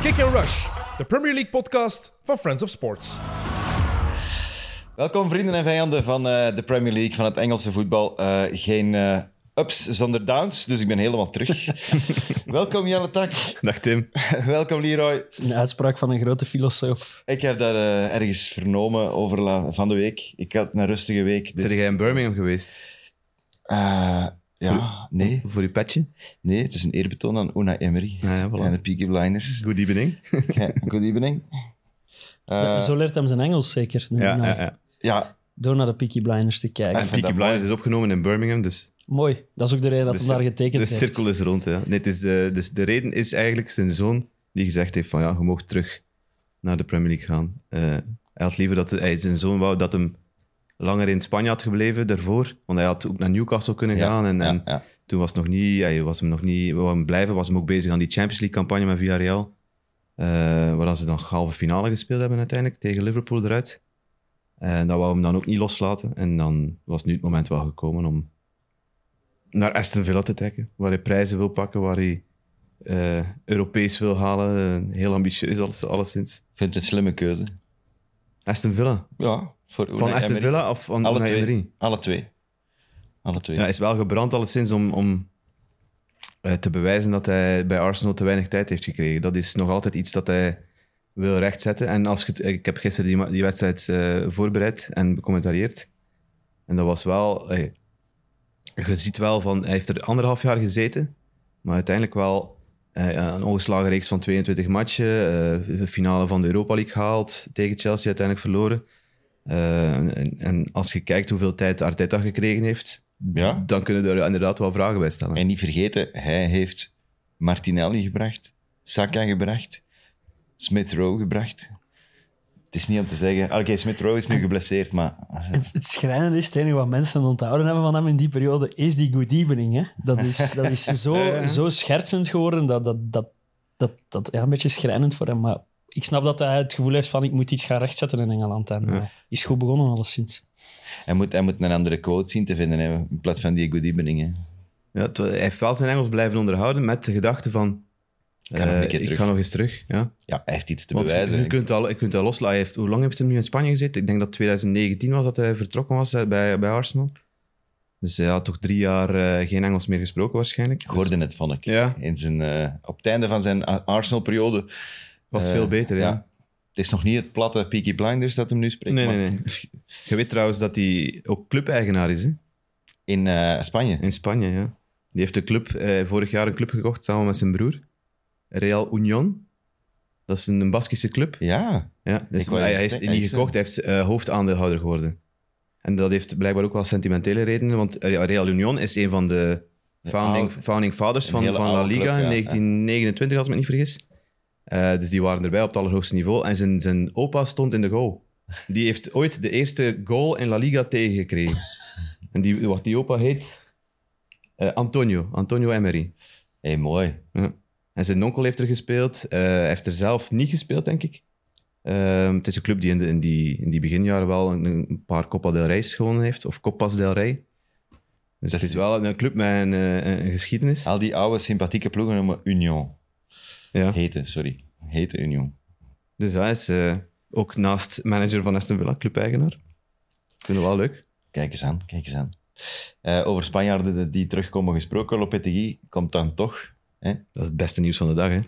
Kick and Rush, de Premier League podcast van Friends of Sports. Welkom vrienden en vijanden van eh, de Premier League, van het Engelse voetbal. Eh, geen eh, ups zonder downs, dus ik ben helemaal terug. Welkom Jelle Tak, Dag Tim. welkom Leroy. Een uitspraak van een grote filosoof. Ik heb dat eh, ergens vernomen over la- van de week. Ik had een rustige week, dus... Zijn jij in Birmingham geweest? eh, ja, nee, Voor je petje? nee, het is een eerbetoon aan Una Emery Ah, Ja, ja, voilà. en de Peaky Blinders. Good evening. Ja, Good evening. Eh, Zo leert hem zijn Engels zeker. nu Ja, nou. ja, ja. ja, Door naar de Peaky Blinders te kijken. Ah, En Peaky dat Blinders is opgenomen in Birmingham, dus Mooi. Dat is ook de reden dat Dus, hij daar getekend de heeft. cirkel is rond. Ja. Nee, het is, eh, dus de reden is eigenlijk zijn zoon die gezegd heeft van ja, je mag terug naar de Premier League gaan. Eh, hij had liever dat hij, zijn zoon wou dat hem langer in Spanje had gebleven daarvoor, want hij had ook naar Newcastle kunnen ja, gaan en, ja, en ja. Toen was het nog niet, hij was hem nog niet, wou hem blijven, was hem ook bezig aan die Champions League campagne met Villarreal. Eh, waar dan ze dan halve finale gespeeld hebben uiteindelijk, tegen Liverpool eruit. En dat wou hem dan ook niet loslaten. En dan was nu het moment wel gekomen om naar Aston Villa te trekken. Waar hij prijzen wil pakken, waar hij eh, Europees wil halen. Eh, heel ambitieus, alles, alleszins. Ik vind het een slimme keuze. Aston Villa. Ja, voor Una Van Aston Emery. Villa of van Alle Unai twee. Emery? Alle twee. Alle twee. Ja, hij is wel gebrand alleszins om, om eh, te bewijzen dat hij bij Arsenal te weinig tijd heeft gekregen. Dat is nog altijd iets dat hij wil rechtzetten. En als je het- ik heb gisteren die, ma- die wedstrijd eh, voorbereid en becommentarieerd. En dat was wel... eh, je ziet wel van... Hij heeft er anderhalf jaar gezeten, maar uiteindelijk wel eh, een ongeslagen reeks van 22 matchen. eh, de finale van de Europa League gehaald, tegen Chelsea uiteindelijk verloren. Eh, en, en als je kijkt hoeveel tijd Arteta gekregen heeft, Ja. dan kunnen er inderdaad wel vragen bij stellen. En niet vergeten, hij heeft Martinelli gebracht, Saka gebracht, Smith Rowe gebracht. Het is niet om te zeggen. Oké, Smith Rowe is nu geblesseerd, maar. Het, het schrijnende is, het enige wat mensen onthouden hebben van hem in die periode, is die good evening. Hè? Dat is, dat is zo, Ja. zo schertsend geworden, dat, dat, dat, dat, dat ja, een beetje schrijnend voor hem. Maar ik snap dat hij het gevoel heeft van, ik moet iets gaan rechtzetten in Engeland. En Ja. eh, is goed begonnen, alleszins. Hij moet, hij moet een andere quote zien te vinden hè, in plaats van die good evening. Hè. Ja, het- hij heeft wel zijn Engels blijven onderhouden met de gedachte van... Ik ga nog een eh, keer ik terug. ga nog eens terug. Ja. Ja, hij heeft iets te Want bewijzen. je kunt al, je kunt al loslaten. Hij heeft- Hoe lang heeft hij nu in Spanje gezeten? Ik denk dat 2019 was dat hij vertrokken was eh, bij, bij Arsenal. Dus hij had toch drie jaar eh, geen Engels meer gesproken waarschijnlijk. Ik hoorde het, vond ik. Ja. In zijn, eh, op het einde van zijn A- Arsenal-periode. Was Eh, veel beter, ja. Het is nog niet het platte Peaky Blinders dat hem nu spreekt. Nee, maar nee, nee. Je weet trouwens dat hij ook clubeigenaar is hè? In eh, Spanje. in Spanje. Ja. Die heeft de club, eh, vorig jaar een club gekocht samen met zijn broer. Real Union. Dat is een, een Baskische club. Ja. Ja, Ik dus wou hij, juist hij is zeggen, hij niet is, gekocht, hij heeft eh, hoofdaandeelhouder geworden. En dat heeft blijkbaar ook wel sentimentele redenen, want eh, Real Union is een van de Ja, founding, oude- founding fathers een van, hele van La oude Liga club, ja, in 1929, als ik me niet vergis. Eh, dus die waren erbij op het allerhoogste niveau. En zijn, zijn opa stond in de goal. Die heeft ooit de eerste goal in La Liga tegengekregen. en die, wat die opa heet? eh, Antonio, Antonio Emery. Hé, mooi. En zijn onkel heeft er gespeeld. eh, Hij heeft er zelf niet gespeeld, denk ik. Ehm, het is een club die in, de, in, die, in die beginjaren wel een, een paar Copa del Rey's gewonnen heeft. Of Copas del Rey. Dus Dat het is is- wel een club met een, eh, een geschiedenis. Al die oude sympathieke ploegen noemen Union. Ja. Heten, sorry. Heten Union. Dus hij is eh, ook naast manager van Aston Villa, clubeigenaar. Vinden we wel leuk. Kijk eens aan, kijk eens aan. Eh, over Spanjaarden die- die terugkomen gesproken, Lopetegui komt dan toch. Dat is het beste nieuws van de dag, hè?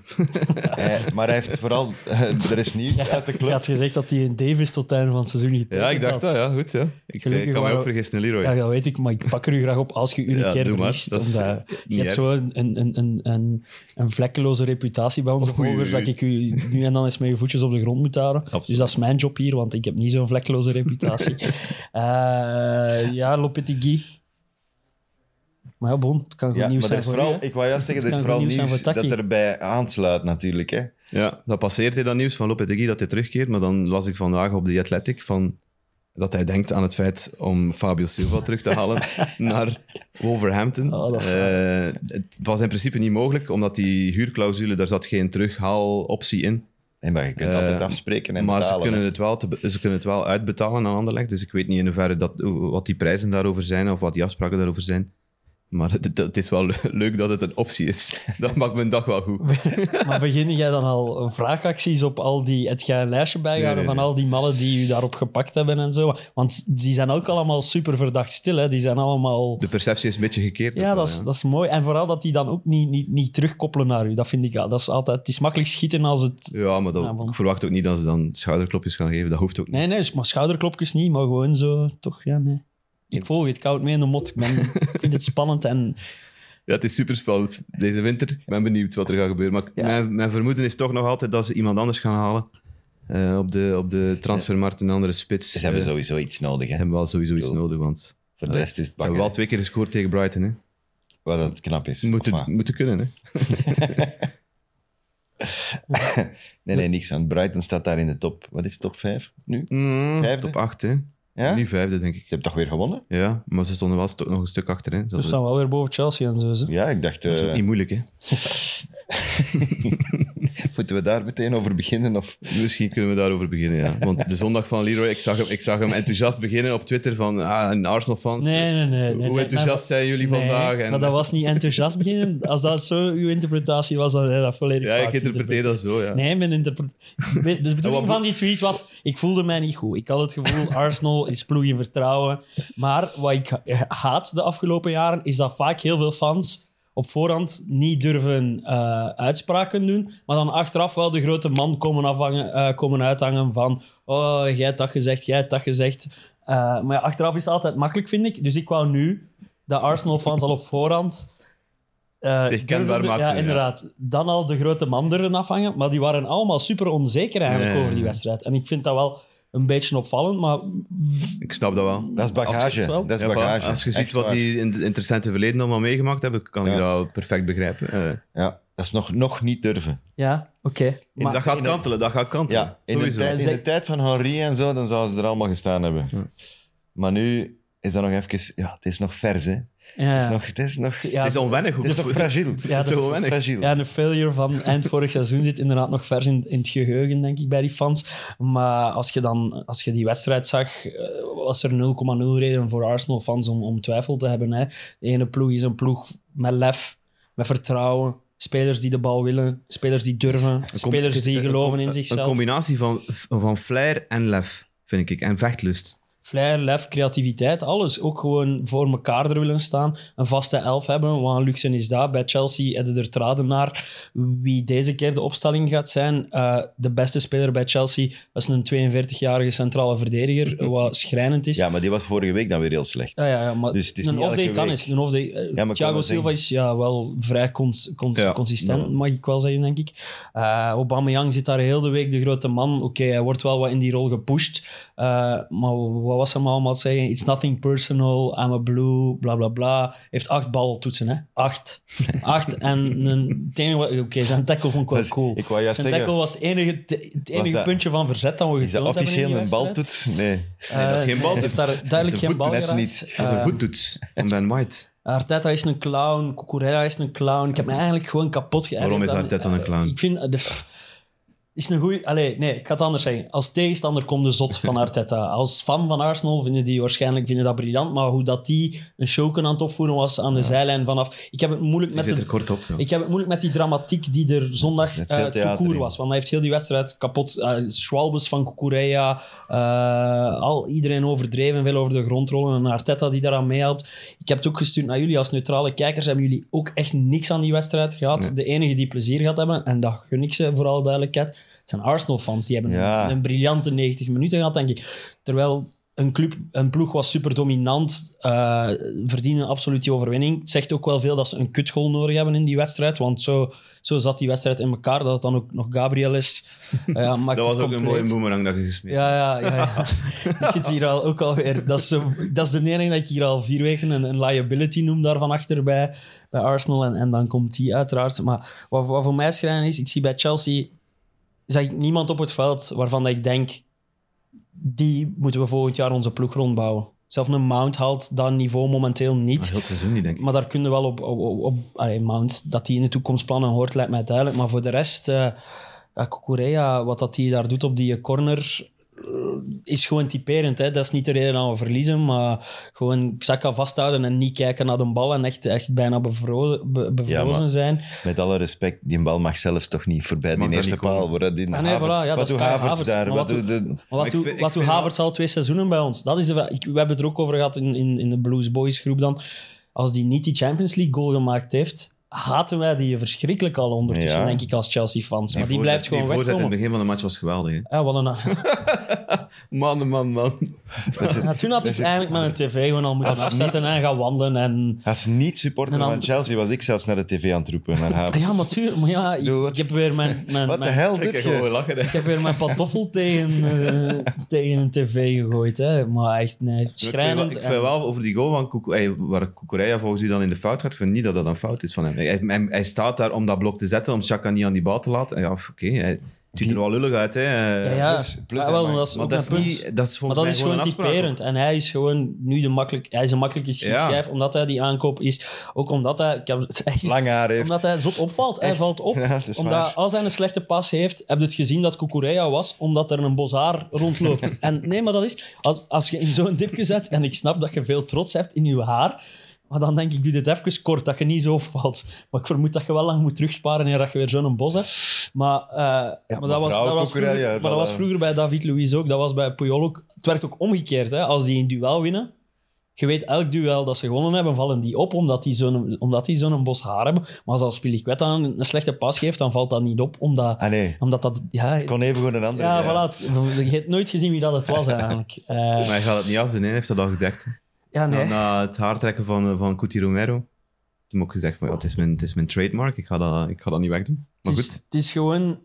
Eh, maar hij heeft vooral... eh, er is nieuws uit de Je club. had gezegd dat hij in Davis tot het einde van het seizoen getekend Ja, ik dacht had. dat. Ja, goed, ja. Ik eh, Gelukkig kan mij waren- ook vergissen, Leroy. Ja, dat weet ik, maar ik pak er u graag op als je u een Ja, keer doe maar. verliest. Dat is, omdat eh, je niet hebt erg. zo een, een, een, een, een vlekkeloze reputatie bij onze Oei, volgers oei, dat ik u nu en dan eens met je voetjes op de grond moet houden. Absoluut. Dus dat is mijn job hier, want ik heb niet zo'n vlekkeloze reputatie. Eh ja, Lopetegui. Maar ja, bon, het kan goed Ja, nieuws maar er zijn is voor vooral, u, hè. ik wou juist zeggen, er Het is kan vooral goed nieuws, nieuws zijn voor dat Taki. erbij aansluit natuurlijk. Hè. Ja, dat passeert hij dat nieuws van Lopetegui dat hij terugkeert. Maar dan las ik vandaag op The Athletic van dat hij denkt aan het feit om Fabio Silva terug te halen naar Wolverhampton. Oh, dat is Eh, het was in principe niet mogelijk, omdat die huurclausule, daar zat geen terughaaloptie in. Nee, maar je kunt Eh, altijd afspreken en maar betalen. ze kunnen, hè. het wel te, be- ze kunnen het wel uitbetalen aan Anderlecht. Dus ik weet niet in hoeverre dat, wat die prijzen daarover zijn of wat die afspraken daarover zijn. Maar het, het is wel leuk dat het een optie is. Dat maakt mijn dag wel goed. Maar begin jij dan al vraagacties op al die... Het jij een lijstje bijhouden Nee, nee, van al die mannen die u daarop gepakt hebben en zo? Want die zijn ook allemaal super verdacht stil, hè? Die zijn allemaal... De perceptie is een beetje gekeerd. ook Ja, wel, dat is, dat is mooi. En vooral dat die dan ook niet, niet, niet terugkoppelen naar u. Dat vind ik... ja, Dat is altijd... Het is makkelijk schieten als het... Ja, maar dat, Ja, want- ik verwacht ook niet dat ze dan schouderklopjes gaan geven. Dat hoeft ook niet. Nee, nee, maar schouderklopjes niet, maar gewoon zo... Toch, ja, nee. Ik volg het koud mee in de mot. Ik ben, ik vind het spannend en... Ja, het is super spannend deze winter. Ik ben benieuwd wat er gaat gebeuren. Maar Ja. mijn, mijn vermoeden is toch nog altijd dat ze iemand anders gaan halen. eh, op, de, op de transfermarkt, een andere spits. Ze hebben Eh, sowieso iets nodig. Hè. hebben wel sowieso iets Bedoel, nodig, want Voor de Allee, rest is het ze hebben pakken. wel twee keer gescoord tegen Brighton. Hè. Wat dat knap is. Of wat? Moeten, moeten kunnen, hè. Nee, nee, niks van. Brighton staat daar in de top. Wat is top 5 nu? Mm, Vijfde? Top acht, hè. Ja? Nu Je vijfde, denk ik. hebt toch weer gewonnen? Ja, maar ze stonden wel sto- nog een stuk achter, hè. Ze Dus hadden- dan wel weer boven Chelsea en zo. zo. Ja, ik dacht, Dat is eh, ook niet moeilijk, hè. moeten we daar meteen over beginnen? Of... Misschien kunnen we daarover beginnen, ja. Want de zondag van Leroy, ik zag hem, ik zag hem enthousiast beginnen op Twitter van ah, een Arsenal-fans. Nee, nee, nee. nee, Hoe nee, nee. enthousiast zijn jullie Nee, vandaag? En... maar dat was niet enthousiast beginnen. Als dat zo uw interpretatie was, dan had je dat volledig Ja, ik fout interpreteer dat zo, ja. Nee, mijn interpretatie... De bedoeling wat- van die tweet was, ik voelde mij niet goed. Ik had het gevoel, Arsenal is ploeg in vertrouwen. Maar wat ik ha- haat de afgelopen jaren, is dat vaak heel veel fans op voorhand niet durven eh, uitspraken doen, maar dan achteraf wel de grote man komen, afhangen, eh, komen uithangen van oh, jij hebt dat gezegd, jij hebt dat gezegd. Eh, maar ja, achteraf is het altijd makkelijk, vind ik. Dus ik wou nu dat Arsenal-fans al op voorhand... eh, Zich kenbaar durven de- maakten, Ja, ja. inderdaad. Dan al de grote man ervan afhangen. Maar die waren allemaal super onzeker eigenlijk Ja, ja, over die ja. wedstrijd. En ik vind dat wel een beetje opvallend, maar Ik snap dat wel. Dat is Als je bagage. het wel- Dat is Ja, voilà. bagage. Als je ziet Echt wat waar. die in het interessante verleden allemaal meegemaakt hebben, kan ik Ja. dat perfect begrijpen. Eh, Ja, dat is nog, nog niet durven. ja, oké. Maar- dat gaat kantelen, dat gaat kantelen. Ja, in de, Sowieso. tijd, in Zeg- de tijd van Henri en zo, dan zouden ze er allemaal gestaan hebben. Ja. Maar nu is dat nog even... Ja, het is nog vers, hè. Het Ja, is nog... Het is nog, ja, Het is onwennig. ook. het is nog fragiel. Het Ja, is dat- nog weinig. fragiel. Ja, en de failure van eind vorig seizoen zit inderdaad nog vers in, in het geheugen, denk ik, bij die fans. Maar als je, dan, als je die wedstrijd zag, eh, was er 0,0 reden voor Arsenal-fans om, om twijfel te hebben. Hè. De ene ploeg is een ploeg met lef, met vertrouwen. Spelers die de bal willen, spelers die durven, Een com- spelers die een- geloven een- in Een zichzelf. combinatie van, van flair en lef, vind ik. En vechtlust. Flair, lef, creativiteit, alles. Ook gewoon voor elkaar er willen staan. Een vaste elf hebben. Wat een luxe is dat. Bij Chelsea hadden er traden naar wie deze keer de opstelling gaat zijn. Eh, de beste speler bij Chelsea was een 42-jarige centrale verdediger. Wat schrijnend is. Ja, maar die was vorige week dan weer heel slecht. Ja, ja, ja, maar Dus het is een niet off-day elke kan week. eens. Een off-day, eh, kan wel Thiago zeggen. Silva is ja, wel vrij cons- cons- Ja, consistent, maar- mag ik wel zeggen, denk ik. Eh Aubameyang zit daar heel de week, de grote man. Oké, hij wordt wel wat in die rol gepusht. Eh, maar wat was hem allemaal te zeggen? It's nothing personal, I'm a blue, bla bla bla. Heeft acht baltoetsen, hè? Acht. Acht. en een... het enige wat- Oké, zijn tackle vond ik wel Dat is- cool. Ik wou juist Zijn zeggen, tackle was het enige, het enige dat- puntje van verzet dat we is dat getoond hebben in officieel die een wedstrijd. baltoets? Nee. Nee, dat is Eh, geen baltoets. heeft daar Dat is duidelijk een geen voet- bal Net geraakt. niet. Dat is een Eh, voettoets van Ben White. Arteta is een clown, Cucurella is een clown. Ik heb me eigenlijk gewoon kapot geërgerd. Waarom is aan- Arteta een clown? Ik vind... eh, De, is een goeie... Allee, nee, ik ga het anders zeggen. Als tegenstander komt de zot van Arteta. Als fan van Arsenal vinden die waarschijnlijk vinden dat briljant, maar hoe dat die een showken aan het opvoeren was aan de zijlijn vanaf... Ik heb het moeilijk Die met zit de er kort op. ja. ik heb het moeilijk met die dramatiek die er zondag Met eh veel theater te koer in. was. Want hij heeft heel die wedstrijd kapot. eh Schwalbes van Kukureya, eh, al iedereen overdreven, veel over de grond rollen. En Arteta die daaraan meehelpt. Ik heb het ook gestuurd naar jullie als neutrale kijkers. Hebben jullie ook echt niks aan die wedstrijd gehad? Nee. De enige die plezier gehad hebben, en dat gun ik ze vooral duidelijkheid, zijn Arsenal-fans. Die hebben Ja. een, een briljante 90 minuten gehad, denk ik. Terwijl een, club, een ploeg was super dominant, eh, verdienen absoluut die overwinning. Het zegt ook wel veel dat ze een kutgoal nodig hebben in die wedstrijd, want zo, zo zat die wedstrijd in elkaar, dat het dan ook nog Gabriel is. Eh, Ja, maakt Dat het was ook een compleet. mooie boemerang dat je gesmeerd Ja, ja, ja. ja. ik zit hier al, ook alweer. Dat is, zo, dat is de enige dat ik hier al vier weken een, een liability noem daarvan achter bij, bij Arsenal. En, en dan komt die uiteraard. Maar wat, wat voor mij schrijnend is, ik zie bij Chelsea zag ik niemand op het veld waarvan dat ik denk, die moeten we volgend jaar onze ploeg rondbouwen. Zelfs een Mount haalt dat niveau momenteel hebt. niet. Heel het seizoen niet, denk ik. Maar daar kunnen we wel op... op, op, op- allee, Mount, dat hij in de toekomst plannen hoort, lijkt mij duidelijk. Maar voor de rest, eh ja, Cucurella, wat dat hij daar doet op die corner... eh, is gewoon typerend. Hè. Dat is niet de reden dat we verliezen, maar gewoon Xhaka vasthouden en niet kijken naar de bal en echt, echt bijna bevro- be- bevrozen Ja, maar- zijn. Met alle respect, die bal mag zelfs toch niet voorbij Mag die daar eerste niet komen. paal. Waar dat in Ah, nee, Haver- voilà, ja, wat dat is doet Kai Havertz Havertz, daar? maar Wat wat doet de... Maar wat Ik doet vind- ik wat doet vind Havertz al twee seizoenen bij ons? Dat is de vraag. Ik, we hebben het er ook over gehad in, in, in de Blues Boys groep dan. Als die niet die Champions League goal gemaakt heeft, haten wij die verschrikkelijk al ondertussen, Ja. denk ik, als Chelsea-fans. Maar die voorzet- blijft gewoon Die voorzet in het wegkomen. begin van de match was geweldig. Hè? Ja, wat een... Man, man, man. Dat is het. Ja, toen had ik is het. eigenlijk mijn tv gewoon al moeten Als afzetten en gaan wandelen. En... Als niet-supporter Een van ander- Chelsea was ik zelfs naar de tv aan het roepen. Naar Havertz. Ja, maar tuurlijk. Maar ja, ik, Doe wat- ik heb weer mijn, mijn, Wat de mijn- hel Ik heb dit gewoon je? lachen. Hè. ik heb weer mijn pantoffel tegen, eh, tegen een tv gegooid. Hè. Maar echt, nee, Ik schrijnend. vind, wel- ik en- vind wel over die goal van Kuku, waar Kukureya volgens u dan in de fout gaat, ik vind niet dat dat een fout is van hem. Hij, hij, hij staat daar om dat blok te zetten, om Chaka niet aan die bal te laten. Ja, oké, hij het ziet er wel lullig uit. Hè. ja, Eh, ja. plus- plus Ja, hij wel, maakt- dat is Maar ook dat mijn is, punt. niet, dat is volgens maar dat mij is gewoon gewoon een afspraak. typerend. En hij is gewoon nu de makkelijk, hij is een makkelijke schietschijf, omdat hij die aankoop is. Ook omdat hij... Ik heb het echt- Lang haar heeft. omdat hij zot opvalt. Hij Echt. valt op. Ja, dat is omdat waar. als hij een slechte pas heeft, heb je het gezien dat Kukureya was, omdat er een bozaar rondloopt. en nee, maar dat is... Als, als je in zo'n dipje zet, en ik snap dat je veel trots hebt in je haar, maar dan denk ik, doe dit even kort, dat je niet zo valt. Maar ik vermoed dat je wel lang moet terugsparen en dat je weer zo'n bos hebt. Maar, eh, maar, maar dat, was, vrouw dat, was Kukureya, vroeger, maar dat, dat was eh. vroeger bij David Luiz ook, dat was bij Puyol ook. Het werd ook omgekeerd, hè. als die een duel winnen, je weet, elk duel dat ze gewonnen hebben, vallen die op omdat die zo'n, omdat die zo'n bos haar hebben. Maar als als Spiliquet dan een slechte pas geeft, dan valt dat niet op, omdat, Ah nee, omdat dat... Ja, kon even gewoon een andere. ja, ja. voilà. het- je hebt nooit gezien wie dat het was, eigenlijk. Eh, Maar hij gaat het niet afdoen, hè. hij heeft dat al gezegd. ja, Na, Ah, nee. na het haartrekken van, eh, van Cuti Romero. Toen heb ik gezegd: van, ja, het, is mijn, het is mijn trademark, ik ga dat, ik ga dat niet wegdoen. Maar het, is, goed, het is gewoon...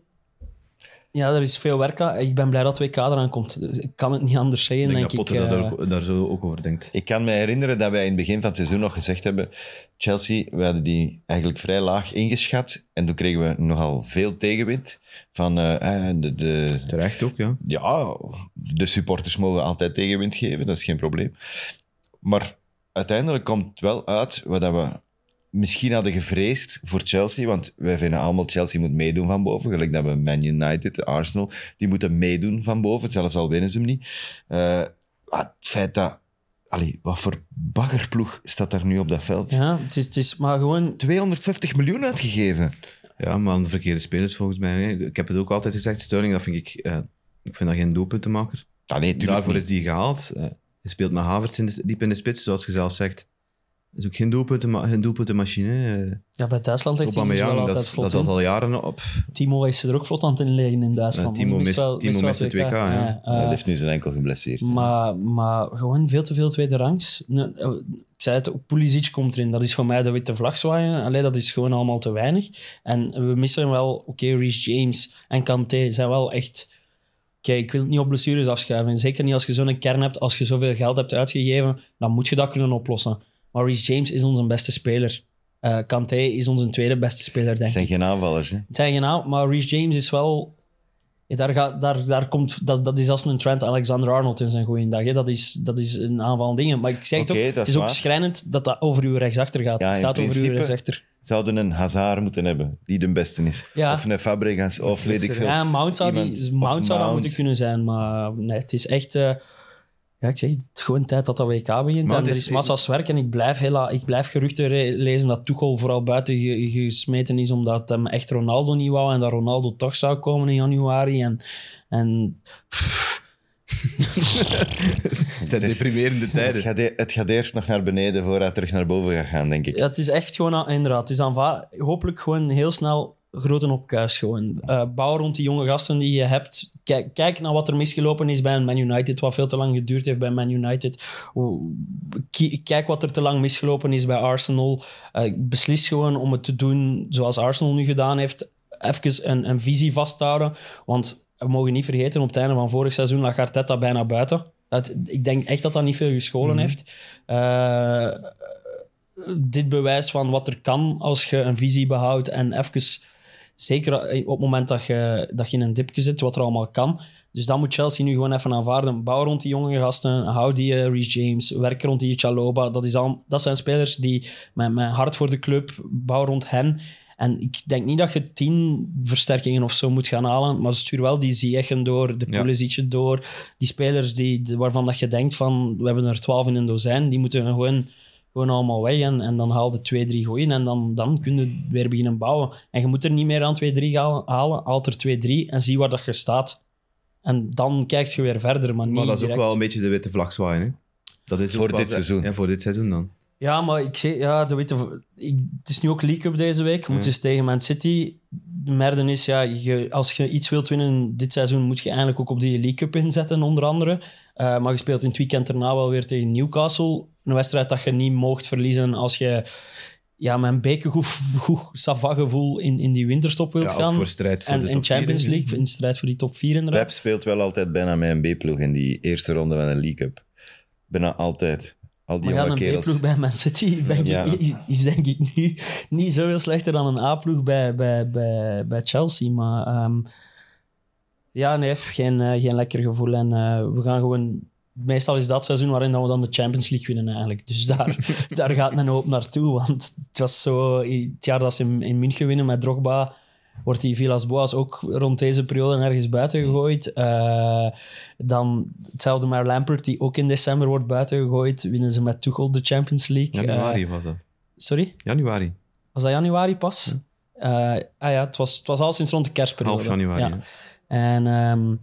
Ja, er is veel werk aan. Ik ben blij dat 2K eraan komt. Ik kan het niet anders ik zeggen, denk denk, dat Potter ik. eh. daar, ook- daar zo ook over denkt. Ik kan me herinneren dat wij in het begin van het seizoen nog gezegd hebben: Chelsea, we hadden die eigenlijk vrij laag ingeschat. En toen kregen we nogal veel tegenwind. Van eh, eh, de, de, Terecht ook, ja. ja, de supporters mogen altijd tegenwind geven, dat is geen probleem. Maar uiteindelijk komt het wel uit wat dat we misschien hadden gevreesd voor Chelsea, want wij vinden allemaal Chelsea moet meedoen van boven, gelijk dat we Man United, Arsenal, die moeten meedoen van boven, zelfs al winnen ze hem niet. Eh, maar het feit dat... Allee, wat voor baggerploeg staat daar nu op dat veld? ja, het is, het is maar gewoon... 250 miljoen uitgegeven. Ja, maar aan de verkeerde spelers volgens mij. hè. Ik heb het ook altijd gezegd, Sterling, dat vind ik... eh, ik vind dat geen doelpuntenmaker. Allee, tuurlijk Daarvoor niet. is die gehaald. Eh, je speelt met Havertz in de- diep in de spits, zoals je zelf zegt. Dat is ook geen, doelpuntenma geen doelpuntenmachine. eh. Ja, bij Duitsland ligt hij wel Aubameyang, altijd dat is dat vlot is in. al jaren op. Timo is er ook vlot aan het inleggen in Duitsland. Ja, Timo Die mist- wel- Timo wel mist het 2K, 2K, ja. ja. Eh, Dat heeft nu zijn enkel Eh, geblesseerd. Maar, maar gewoon veel te veel tweede rangs. Ne- eh, Ik zei het, ook Pulisic komt erin. Dat is voor mij de witte vlag zwaaien. Allee, dat is gewoon allemaal te weinig. En we missen wel... Oké, Reece James en Kanté zijn wel echt... Kijk, ik wil het niet op blessures afschuiven. Zeker niet als je zo'n kern hebt. Als je zoveel geld hebt uitgegeven, dan moet je dat kunnen oplossen. Maar Reece James is onze beste speler. Eh Kanté is onze tweede beste speler, denk Het ik. zijn geen aanvallers, hè? Het zijn geen naam, nou, maar Reece James is wel... ja, Daar gaat, daar, daar komt, dat, dat is als een Trent Alexander-Arnold in zijn goede dag. Hè. Dat, is, dat is een aanval dingen. Maar ik zeg het Oké, ook, dat het is is ook waar. schrijnend dat dat over uw rechtsachter gaat. Ja, het in gaat over principe. uw rechtsachter. zouden een Hazard moeten hebben, die de beste is. Ja. Of een Fabregas, of weet ik veel. Ja, Mount zou, die, Iemand- Mount of zou dat Mount. moeten kunnen zijn. Maar nee, het is echt... eh, ja, ik zeg het, gewoon tijd dat dat WK begint. Maar en het is- er is massa's werk. En ik blijf, hela, ik blijf geruchten re- lezen dat Tuchel vooral buiten ge- gesmeten is omdat hem echt Ronaldo niet wou. En dat Ronaldo toch zou komen in januari. En, en Het zijn Het is- deprimerende Het tijden. gaat, e- het gaat eerst nog naar beneden voordat het terug naar boven gaat gaan, denk ik. Ja, het is echt gewoon, aan- inderdaad, het is aanvaard. Hopelijk gewoon heel snel grote opkuis. Gewoon. Eh, bouw rond die jonge gasten die je hebt. Kijk, kijk naar wat er misgelopen is bij een Man United, wat veel te lang geduurd heeft bij Man United. Hoe- ki- Kijk wat er te lang misgelopen is bij Arsenal. Eh, beslis gewoon om het te doen zoals Arsenal nu gedaan heeft. Even een, een visie vasthouden. Want we mogen niet vergeten, op het einde van vorig seizoen lag Arteta bijna buiten. Dat, ik denk echt dat dat niet veel gescholen heeft. Eh, dit bewijs van wat er kan als je een visie behoudt en even, zeker op het moment dat je, dat je in een dipje zit, wat er allemaal kan. Dus dat moet Chelsea nu gewoon even aanvaarden. Bouw rond die jonge gasten, hou die eh, Reece James, werk rond die Chaloba. Dat, is al, dat zijn spelers die met, met hart voor de club, bouw rond hen. En ik denk niet dat je tien versterkingen of zo moet gaan halen, maar stuur wel die Ziyech'n door, de Ja. Pulisic'en door. Die spelers die, de- waarvan dat je denkt van, we hebben er twaalf in een dozijn, die moeten gewoon, gewoon allemaal weg. En, en dan haal de twee, drie gooien en dan, dan kun je weer beginnen bouwen. En je moet er niet meer aan twee, drie halen, halen haal er twee, drie en zie waar dat je staat. En dan kijk je weer verder, maar niet Maar dat is ook direct. wel een beetje de witte vlag zwaaien. Hè? Dat is ook Voor wel- dit seizoen. Ja, voor dit seizoen dan. Ja, maar ik zeg, ja, dat weet je, ik, het is nu ook League Cup deze week. We Ja. moeten eens tegen Man City. Merden is, ja, je- als je iets wilt winnen dit seizoen, moet je eigenlijk ook op die League Cup inzetten, onder andere. Eh, maar je speelt in het weekend daarna wel weer tegen Newcastle. Een wedstrijd dat je niet moogt verliezen als je ja, met een beetje goed, goed savant gevoel in, in die winterstop wilt Ja, ook gaan. voor strijd voor en de in top vier, Champions hè. League, in strijd voor die top 4 inderdaad. Pep speelt wel altijd bijna met een B-ploeg in die eerste ronde van een League Cup. Bijna altijd. Al die Maar ja, jonge een kerels. B-ploeg bij Man City denk Ja. ik, is, is denk ik nu niet zoveel slechter dan een A-ploeg bij, bij, bij, bij Chelsea. Maar ehm, ja, nee, geen, eh, geen lekker gevoel. En eh, we gaan gewoon... Meestal is dat seizoen waarin dat we dan de Champions League winnen eigenlijk. Dus daar, daar gaat men hoop naartoe. Want het was zo... Het jaar dat ze in, in München winnen met Drogba... Wordt die Villas Boas ook rond deze periode ergens buiten gegooid? Eh, dan hetzelfde maar Lampert, die ook in december wordt buiten gegooid. Winnen ze met Tuchel de Champions League. Januari Eh, was dat. sorry, Januari. was dat januari pas? Eh, ah ja, het was, het was al sinds rond de kerstperiode. Hm. Half januari. Ja. hè. En ehm,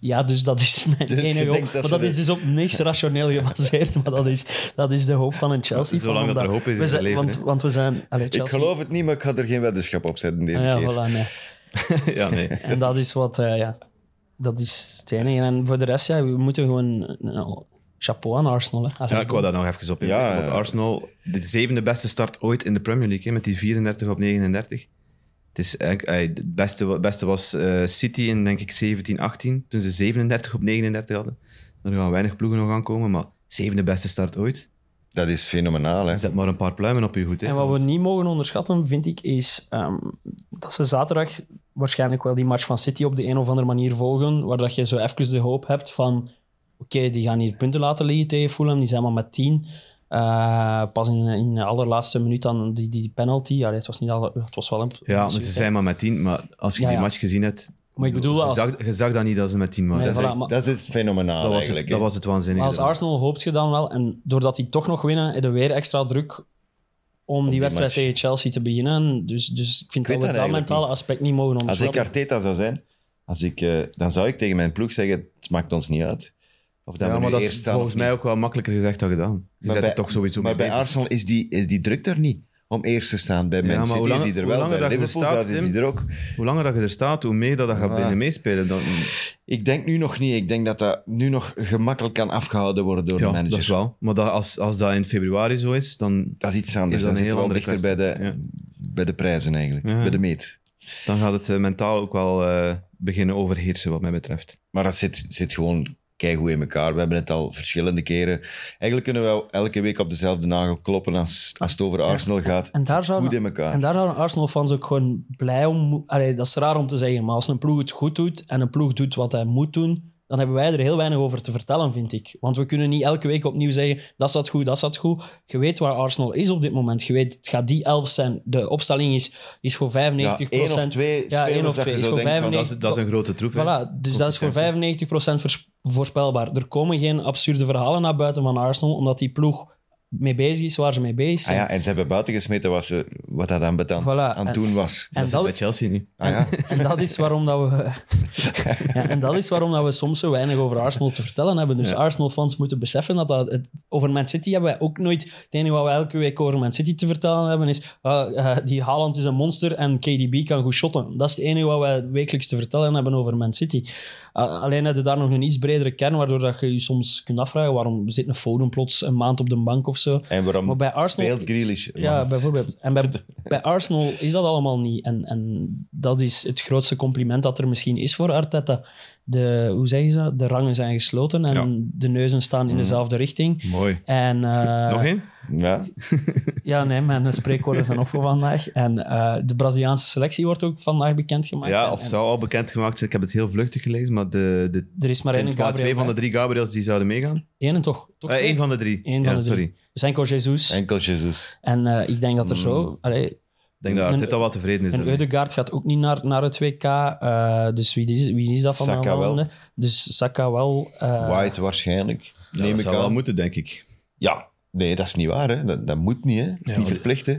ja, dus dat is mijn Dus je enige hoop. denkt dat Dat ze dat dit- is dus op niks rationeel gebaseerd, maar dat is, dat is de hoop van een Chelsea. Zolang dat er hoop is, is er leven, want, hè. want we zijn... Allee, Chelsea, Ik geloof het niet, maar ik ga er geen weddenschap op zetten deze Ah ja, keer. voilà, nee. ja, nee. En dat is wat, eh, ja. Dat is het enige. En voor de rest, ja, we moeten gewoon... nou, chapeau aan Arsenal, hè. Allee, Ja, ik wou daar nog even op in. Ja, Want ja. Arsenal, de zevende beste start ooit in de Premier League, hè, met die 34 op 39. Het, is eigenlijk, ey, het beste, het beste was eh, City in, denk ik, 17, 18, toen ze 37 op 39 hadden. Er gaan weinig ploegen nog aankomen, maar zevende beste start ooit. Dat is fenomenaal, hè. Zet maar een paar pluimen op je goed. Hè, En wat want- we niet mogen onderschatten, vind ik, is ehm, dat ze zaterdag waarschijnlijk wel die match van City op de een of andere manier volgen, waar dat je zo even de hoop hebt van oké, die gaan hier punten laten liggen tegen Fulham, die zijn maar met tien. Eh, pas in, in de allerlaatste minuut dan die, die penalty. Allee, het, was niet alle, het was wel een... Ja, maar ze zijn maar met 10, maar als je dus Ja, die ja. match gezien hebt... Maar ik bedoel, als- Je zag, je zag dat niet dat ze met 10 waren. Nee, Dat, voilà, is echt- maar- dat is fenomenaal dat, was eigenlijk. het, dat hè. was het waanzinnige. Maar als ervan. Arsenal hoopt je dan wel. En doordat die toch nog winnen, hebben we weer extra druk om die, die wedstrijd match. tegen Chelsea te beginnen. Dus, dus ik vind weet dat we dat dat eigenlijk mentale aspect niet mogen Als ik onderschatten. Arteta zou zijn, als ik, eh, dan zou ik tegen mijn ploeg zeggen, het maakt ons niet uit. Of dat ja, we maar nu dat eerst is staan volgens of niet. mij ook wel makkelijker gezegd dan gedaan. Je Maar zet bij- er toch sowieso Maar mee bij bezig. Arsenal is die, is die druk er niet. Om eerst te staan. Bij Ja, maar Man hoe City is langer- die er hoe wel. langer Bij dat je er Liverpool staat, staat, is Tim? die er ook. Hoe langer dat je er staat, hoe meer dat, dat gaat Ah. binnen meespelen. Dan, Ik denk nu nog niet. Ik denk dat dat nu nog gemakkelijk kan afgehouden worden door de ja, manager. dat is wel. Maar dat, als, als dat in februari zo is, dan, Dat is iets anders. Is dat dat een zit heel wel andere dichter bij de, kwestie, bij de prijzen eigenlijk. Ja. Bij de meet. dan gaat het eh, mentaal ook wel eh, beginnen overheersen, wat mij betreft. Maar dat zit, zit gewoon keigoed in elkaar. We hebben het al verschillende keren. Eigenlijk kunnen we wel elke week op dezelfde nagel kloppen als, als het over Arsenal gaat. en daar Het zit zou- goed in elkaar. En daar zijn Arsenal-fans ook gewoon blij om. Allee, dat is raar om te zeggen, maar als een ploeg het goed doet en een ploeg doet wat hij moet doen, dan hebben wij er heel weinig over te vertellen, vind ik. Want we kunnen niet elke week opnieuw zeggen, dat zat goed, dat zat goed. Je weet waar Arsenal is op dit moment. Je weet, het gaat die elf zijn. De opstelling is, is voor ja, 95%. één of twee Ja, één spelers of dat je twee. zo Is denkt voor van... Dat is, dat is een grote troef. hè. Voilà, dus dat is voor 95% vers- voorspelbaar. Er komen geen absurde verhalen naar buiten van Arsenal, omdat die ploeg mee bezig is waar ze mee bezig Ah zijn. ja, en ze hebben buiten gesmeten wat, ze, wat dat aan, betan- Voilà, aan en- het doen was. Dat en is dat, bij Chelsea niet. Ah ja. En dat is waarom dat we... ja, en dat is waarom dat we soms zo weinig over Arsenal te vertellen hebben. Dus Ja. Arsenal-fans moeten beseffen dat, dat het- over Man City hebben wij ook nooit... Het enige wat we elke week over Man City te vertellen hebben is ah, eh, die Haaland is een monster en KDB kan goed shotten. Dat is het enige wat wij wekelijks te vertellen hebben over Man City. Ah, alleen hebben we daar nog een iets bredere kern, waardoor dat je je soms kunt afvragen waarom zit een Foden plots een maand op de bank of zo. En waarom Maar bij Arsenal- speelt Grealish? Ja, Want- bijvoorbeeld. En bij, bij Arsenal is dat allemaal niet. En, en dat is het grootste compliment dat er misschien is voor Arteta. De, hoe zeggen ze dat? De rangen zijn gesloten en Ja. de neuzen staan in dezelfde richting. Mooi. En, eh, Nog één? Ja, Ja, nee, mijn spreekwoorden zijn op voor vandaag. En eh, de Braziliaanse selectie wordt ook vandaag bekendgemaakt. Ja, En- of en zou al bekendgemaakt zijn. Ik heb het heel vluchtig gelezen, maar de, de Er is maar zijn één het maar Gabriel. twee van de drie Gabriels die zouden meegaan. Eén en toch? toch Eén twee? van de drie. Eén ja, van de drie. sorry. Dus enkel Jesus. enkel Jezus. Mm. En eh, ik denk dat er zo... allee, denk dat En- Arteta wel tevreden is. En daarmee. Eudegaard gaat ook niet naar, naar het WK. eh, dus wie is, wie is dat van Saka de wel. Hollanden? Dus Saka wel. eh, White waarschijnlijk. Ja, neem dat ik zou wel aan. moeten, denk ik. Ja, nee, dat is niet waar. Hè. Dat, dat moet niet. Hè. Dat is Ja, niet maar- verplicht. Hè.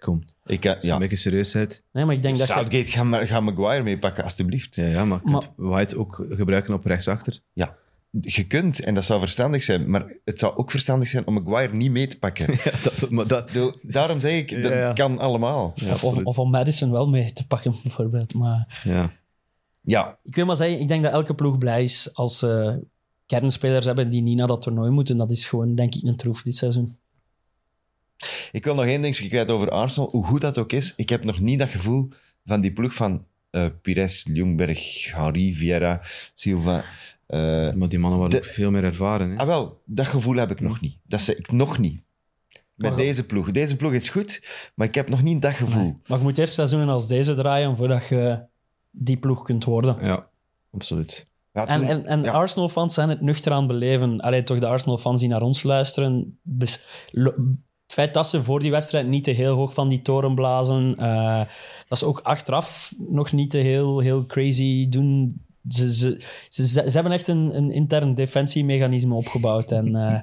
Kom, Ik kan, een ja. beetje serieusheid. Nee, maar ik denk dat je... Southgate, ga, maar- ga Maguire meepakken, alstublieft. Ja, ja maar, je Maar- kunt White ook gebruiken op rechtsachter. Je kunt, en dat zou verstandig zijn, maar het zou ook verstandig zijn om Maguire niet mee te pakken. Ik Ja, dat, maar dat, bedoel, daarom zeg ik, dat Ja, ja. kan allemaal. ja, of, of, absoluut. of om Madison wel mee te pakken, bijvoorbeeld. Maar ja. Ja, ik wil maar zeggen, ik denk dat elke ploeg blij is als ze kernspelers hebben die niet naar dat toernooi moeten. Dat is gewoon, denk ik, een troef dit seizoen. ik wil nog één ding kwijt over Arsenal. Hoe goed dat ook is, ik heb nog niet dat gevoel van die ploeg van eh, Pires, Ljungberg, Henri, Vieira, Silva. eh, Maar die mannen waren De- ook veel meer ervaren. Hè? Ah, wel, dat gevoel heb ik nog niet. Dat zeg ik nog niet. Met Maar- deze ploeg. Deze ploeg is goed, maar ik heb nog niet dat gevoel. Maar je moet eerst seizoenen als deze draaien voordat je die ploeg kunt worden. Ja, absoluut. Ja, En, toen- en, en ja. Arsenal-fans zijn het nuchter aan het beleven. Allee, toch de Arsenal-fans die naar ons luisteren. bes- lo- het feit dat ze voor die wedstrijd niet te heel hoog van die toren blazen. eh, dat ze ook achteraf nog niet te heel, heel crazy doen. Ze, ze, ze, ze- ze hebben echt een, een intern defensiemechanisme opgebouwd. En, eh,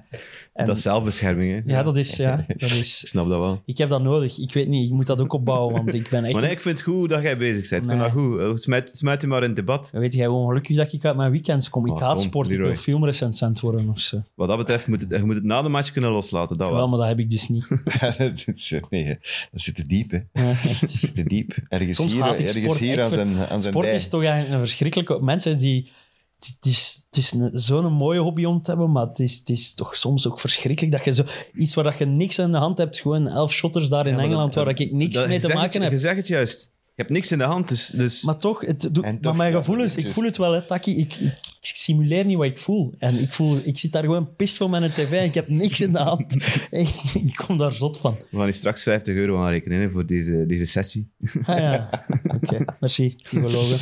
en- dat is zelfbescherming, hè? ja, dat is, ja, dat Ik is... snap dat wel. Ik heb dat nodig. Ik weet niet, ik moet dat ook opbouwen, want ik ben echt... Maar nee, ik vind het goed dat jij bezig bent. Ik vind dat Nee. goed. Eh, Smuit, smuit je maar in het debat. Weet jij hoe ongelukkig dat ik uit mijn weekends kom? Ik Oh, haat kom, sport, ik wil Leroy. filmrecensent worden of zo. Wat dat betreft moet het, je moet het na de match kunnen loslaten. Dat Wel, wel. maar dat heb ik dus niet. dat, is- nee, hè. dat zit te diep, hè. Ja, echt. Dat zit te diep. Ergens Soms hier, haat ik ergens sport hier echt, aan zijn, aan zijn Sport dij. is toch eigenlijk een verschrikkelijke... Mensen die... Het is- het is, het is een- zo'n mooie hobby om te hebben, maar het is, het is toch soms ook verschrikkelijk dat je zo, iets waar dat je niks aan de hand hebt, gewoon elf shotters daar in maar Engeland, dat- waar ik niks Dat- mee je te zegt maken het, heb. Je zegt het juist. Je hebt niks in de hand, dus... dus Maar toch, het doet, En maar toch, mijn ja, gevoelens, dat is ik voel het wel, hè, Taki. Ik, ik, ik simuleer niet wat ik voel. En ik, voel, ik zit daar gewoon pist voor mijn tv en ik heb niks in de hand. Echt, ik kom daar zot van. We gaan hier straks 50 euro aanrekenen hè, voor deze, deze sessie. Ah ja, oké. Merci, psychologen.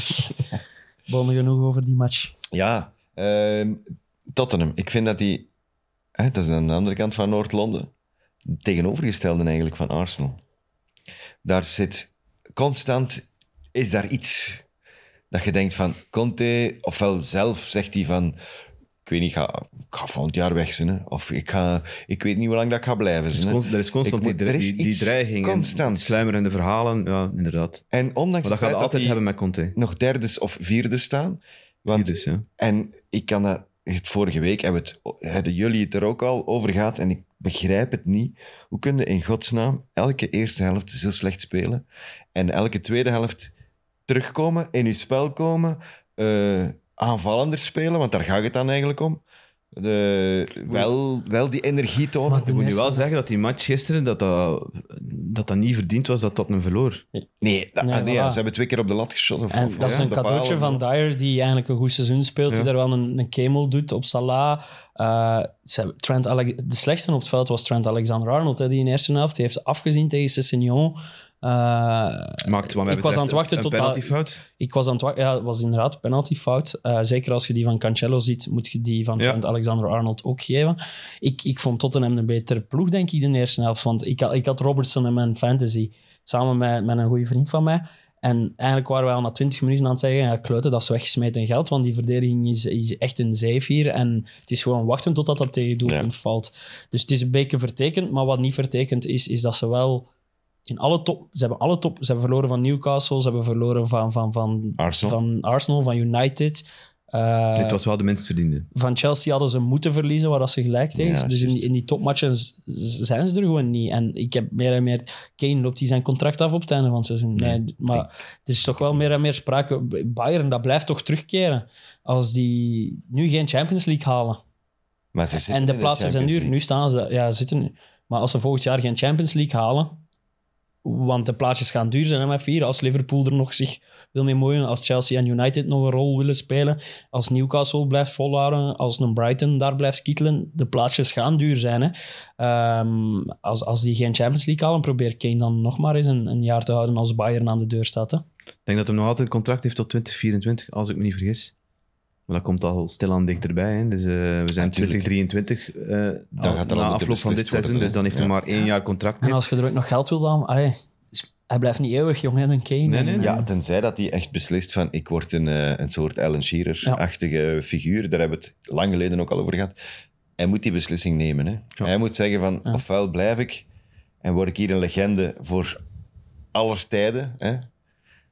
Bomen genoeg over die match. Ja. ehm, Tottenham. Ik vind dat die... Hè, dat is aan de andere kant van Noord-Londen. Tegenovergestelde eigenlijk van Arsenal. Daar zit... Constant is daar iets... Dat je denkt van, Conte, ofwel zelf zegt hij van... Ik weet niet, ik ga, ik ga volgend jaar weg zijn. hè. Of ik, ga, ik weet niet hoe lang dat ik ga blijven Er is, zijn. hè. const- er is constant Ik die, moet- dre- er is die, die iets dreiging. en constant. die Sluimerende verhalen, ja, inderdaad. En Maar ondanks het dat gaat feit we dat altijd die hebben met Conte. nog derdes of vierde staan. Want, Dus, ja. En ik kan dat... het Vorige week hebben, het, hebben jullie het er ook al over gehad en ik begrijp het niet. Hoe kun je in godsnaam elke eerste helft zo slecht spelen en elke tweede helft terugkomen, in je spel komen, eh, aanvallender spelen, want daar gaat het dan eigenlijk om. De, wel, wel die energie tonen. Maar Ik de moet nu wel mensen- zeggen dat die match gisteren, dat dat, dat, dat niet verdiend was dat Tottenham verloor. Nee, dat- Nee, ah, nee voilà. ja, ze hebben twee keer op de lat geschot. Of, En of- dat is ja, een op de cadeautje palen. van Dyer, die eigenlijk een goed seizoen speelt, die Ja. daar wel een, een kemel doet op Salah. Eh, ze hebben Trent Alex de slechtste op het veld was Trent Alexander-Arnold, hè, die in de eerste helft die heeft afgezien tegen Sessignon. Eh, Maakt, wat mij Ik was betreft aan het wachten een, tot een dat- penaltyfout. ik was aan het wachten. Ja, het was inderdaad een penaltyfout. Eh, zeker als je die van Cancelo ziet, moet je die van Ja. Trent Alexander-Arnold ook geven. Ik, ik vond Tottenham een betere ploeg, denk ik, in de eerste helft. Want ik, had- ik had Robertson in mijn fantasy, samen met, met een goede vriend van mij. En eigenlijk waren wij al na 20 minuten aan het zeggen, ja, kluiten, dat is weggesmeten geld, want die verdediging is, is echt een zeef hier. En het is gewoon wachten totdat dat tegen doelpunt valt. Dus het is een beetje vertekend, maar wat niet vertekend is, is dat ze wel in alle top... Ze hebben alle top... Ze hebben verloren van Newcastle, ze hebben verloren van, van, van Arsenal. van Arsenal, van United. eh, Dit was wel de minst verdiende. Van Chelsea hadden ze moeten verliezen, waar dat ze gelijk tegen is. Ja, dus in juist. die, in die topmatchen z- z- zijn ze er gewoon niet. En ik heb meer en meer... Kane loopt die zijn contract af op het einde van het seizoen. Nee, maar er is toch wel meer en meer sprake... Bayern, dat blijft toch terugkeren. Als die nu geen Champions League halen. Maar ze zitten en in de plaatsen zijn Champions duur. Nu staan ze... Ja, ze zitten... Maar als ze volgend jaar geen Champions League halen... Want de plaatjes gaan duur zijn, hè, met vier. Als Liverpool er nog zich wil mee moeien, als Chelsea en United nog een rol willen spelen, als Newcastle blijft volhouden, als een Brighton daar blijft kietelen, de plaatsjes gaan duur zijn. Hè. Ehm, als, als die geen Champions League halen, probeer Kane dan nog maar eens een, een jaar te houden als Bayern aan de deur staat. Hè. Ik denk dat hij nog altijd een contract heeft tot 2024, als ik me niet vergis. Maar dat komt al stilaan dichterbij. Hè. Dus eh, we zijn Ja, tuurlijk. 2023, eh, al gaat er al na de afloop van beslist dit seizoen. worden, dus dan heeft hij ja. maar één jaar contract En meer. als je er ook nog geld wil aan... Allee, sp- Hij blijft niet eeuwig jong, hè, een Kane. Nee, nee, En, Ja, eh, tenzij dat hij echt beslist van ik word een, eh, een soort Alan Shearer-achtige figuur. Daar hebben we het lang geleden ook al over gehad. Hij moet die beslissing nemen. Hè. Hij moet zeggen van ofwel blijf ik en word ik hier een legende voor aller tijden. Hè.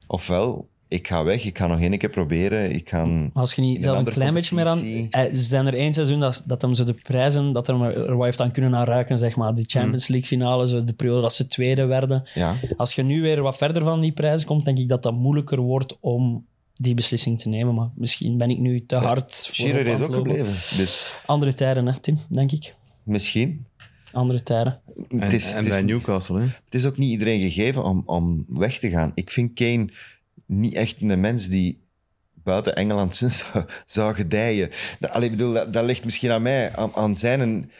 Ofwel, ik ga weg, ik ga nog één keer proberen. Ik ga... Maar als je een niet zelf een andere klein beetje meer aan... competitie. Eh, Ze zijn er één seizoen dat, dat hem zo de prijzen, dat hem er er wat heeft aan kunnen aan ruiken, zeg maar. Die Champions Mm. League finale, zo de periode dat ze tweede werden. Ja, Als je nu weer wat verder van die prijzen komt, denk ik dat dat moeilijker wordt om die beslissing te nemen. Maar misschien ben ik nu te hard voor Shearer op aan is het ook lopen. gebleven. Dus Andere tijden, hè, Tim, denk ik. misschien. Andere tijden. En, het is, en het bij is Newcastle, hè? het is ook niet iedereen gegeven om, om weg te gaan. Ik vind Kane niet echt een mens die buiten Engeland zou, zou gedijen. Dat, allee, ik bedoel, dat, dat ligt misschien aan mij, aan, aan zijn...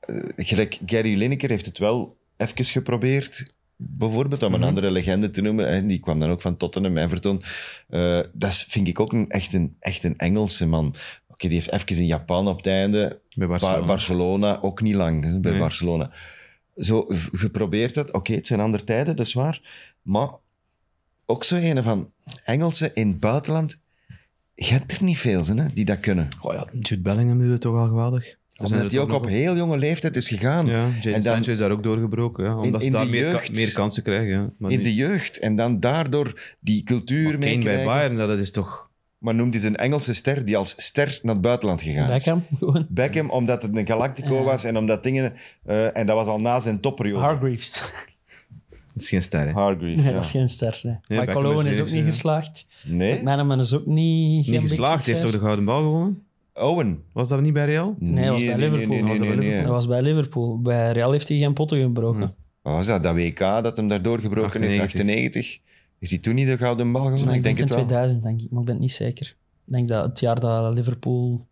eh, gelijk Gary Lineker heeft het wel even geprobeerd, bijvoorbeeld om een andere legende te noemen. hè, die kwam dan ook van Tottenham, Everton. Eh dat is- vind ik ook een, echt, een, echt een Engelse man. Oké, die heeft even in Japan op het einde Bij Barcelona. Ba- Barcelona, ook niet lang hè, bij Nee. Barcelona. Zo v- geprobeerd dat. Oké, het zijn andere tijden, dat is waar. Maar ook zo ene van Engelsen in het buitenland. Je hebt er niet veel zin, hè, die dat kunnen. Goh, ja, Jude Bellingham doet het toch wel geweldig. Er zijn er Omdat die toch ook op nog- heel jonge leeftijd is gegaan. Ja, Jadon En dan- Sancho is daar ook doorgebroken. Ja, omdat in ze daar de meer, ka- jeugd. meer kansen krijgen. Ja. Maar In nu- de jeugd. En dan daardoor die cultuur maar Kane bij meekrijgen. Bayern, nou, dat is toch... Maar noemde hij een Engelse ster die als ster naar het buitenland gegaan is. Beckham, gewoon. Beckham, omdat het een Galactico Ja. was en omdat dingen... eh, en dat was al na zijn topperiode. Hargreaves. Dat is geen ster, hè? Hargreaves, Nee, ja. dat is geen ster. nee. Beckham Michael is Owen is serieus, ook niet ja. geslaagd. Nee? Mijn is ook niet... geen Niet big geslaagd, hij heeft toch succes. de gouden bal gewonnen? Owen. Was dat niet bij Real? Nee, dat was bij Liverpool. Nee, nee, Was dat nee, bij nee. Liverpool? Dat was bij Liverpool. Bij Real heeft hij geen potten gebroken. Wat was dat? Dat WK dat hem daardoor gebroken is, 98. 98. Is hij toen niet de gouden bal gewonnen? Nee, ik denk in het wel. 2000, denk ik, maar ik ben het niet zeker. Ik denk dat het jaar dat Liverpool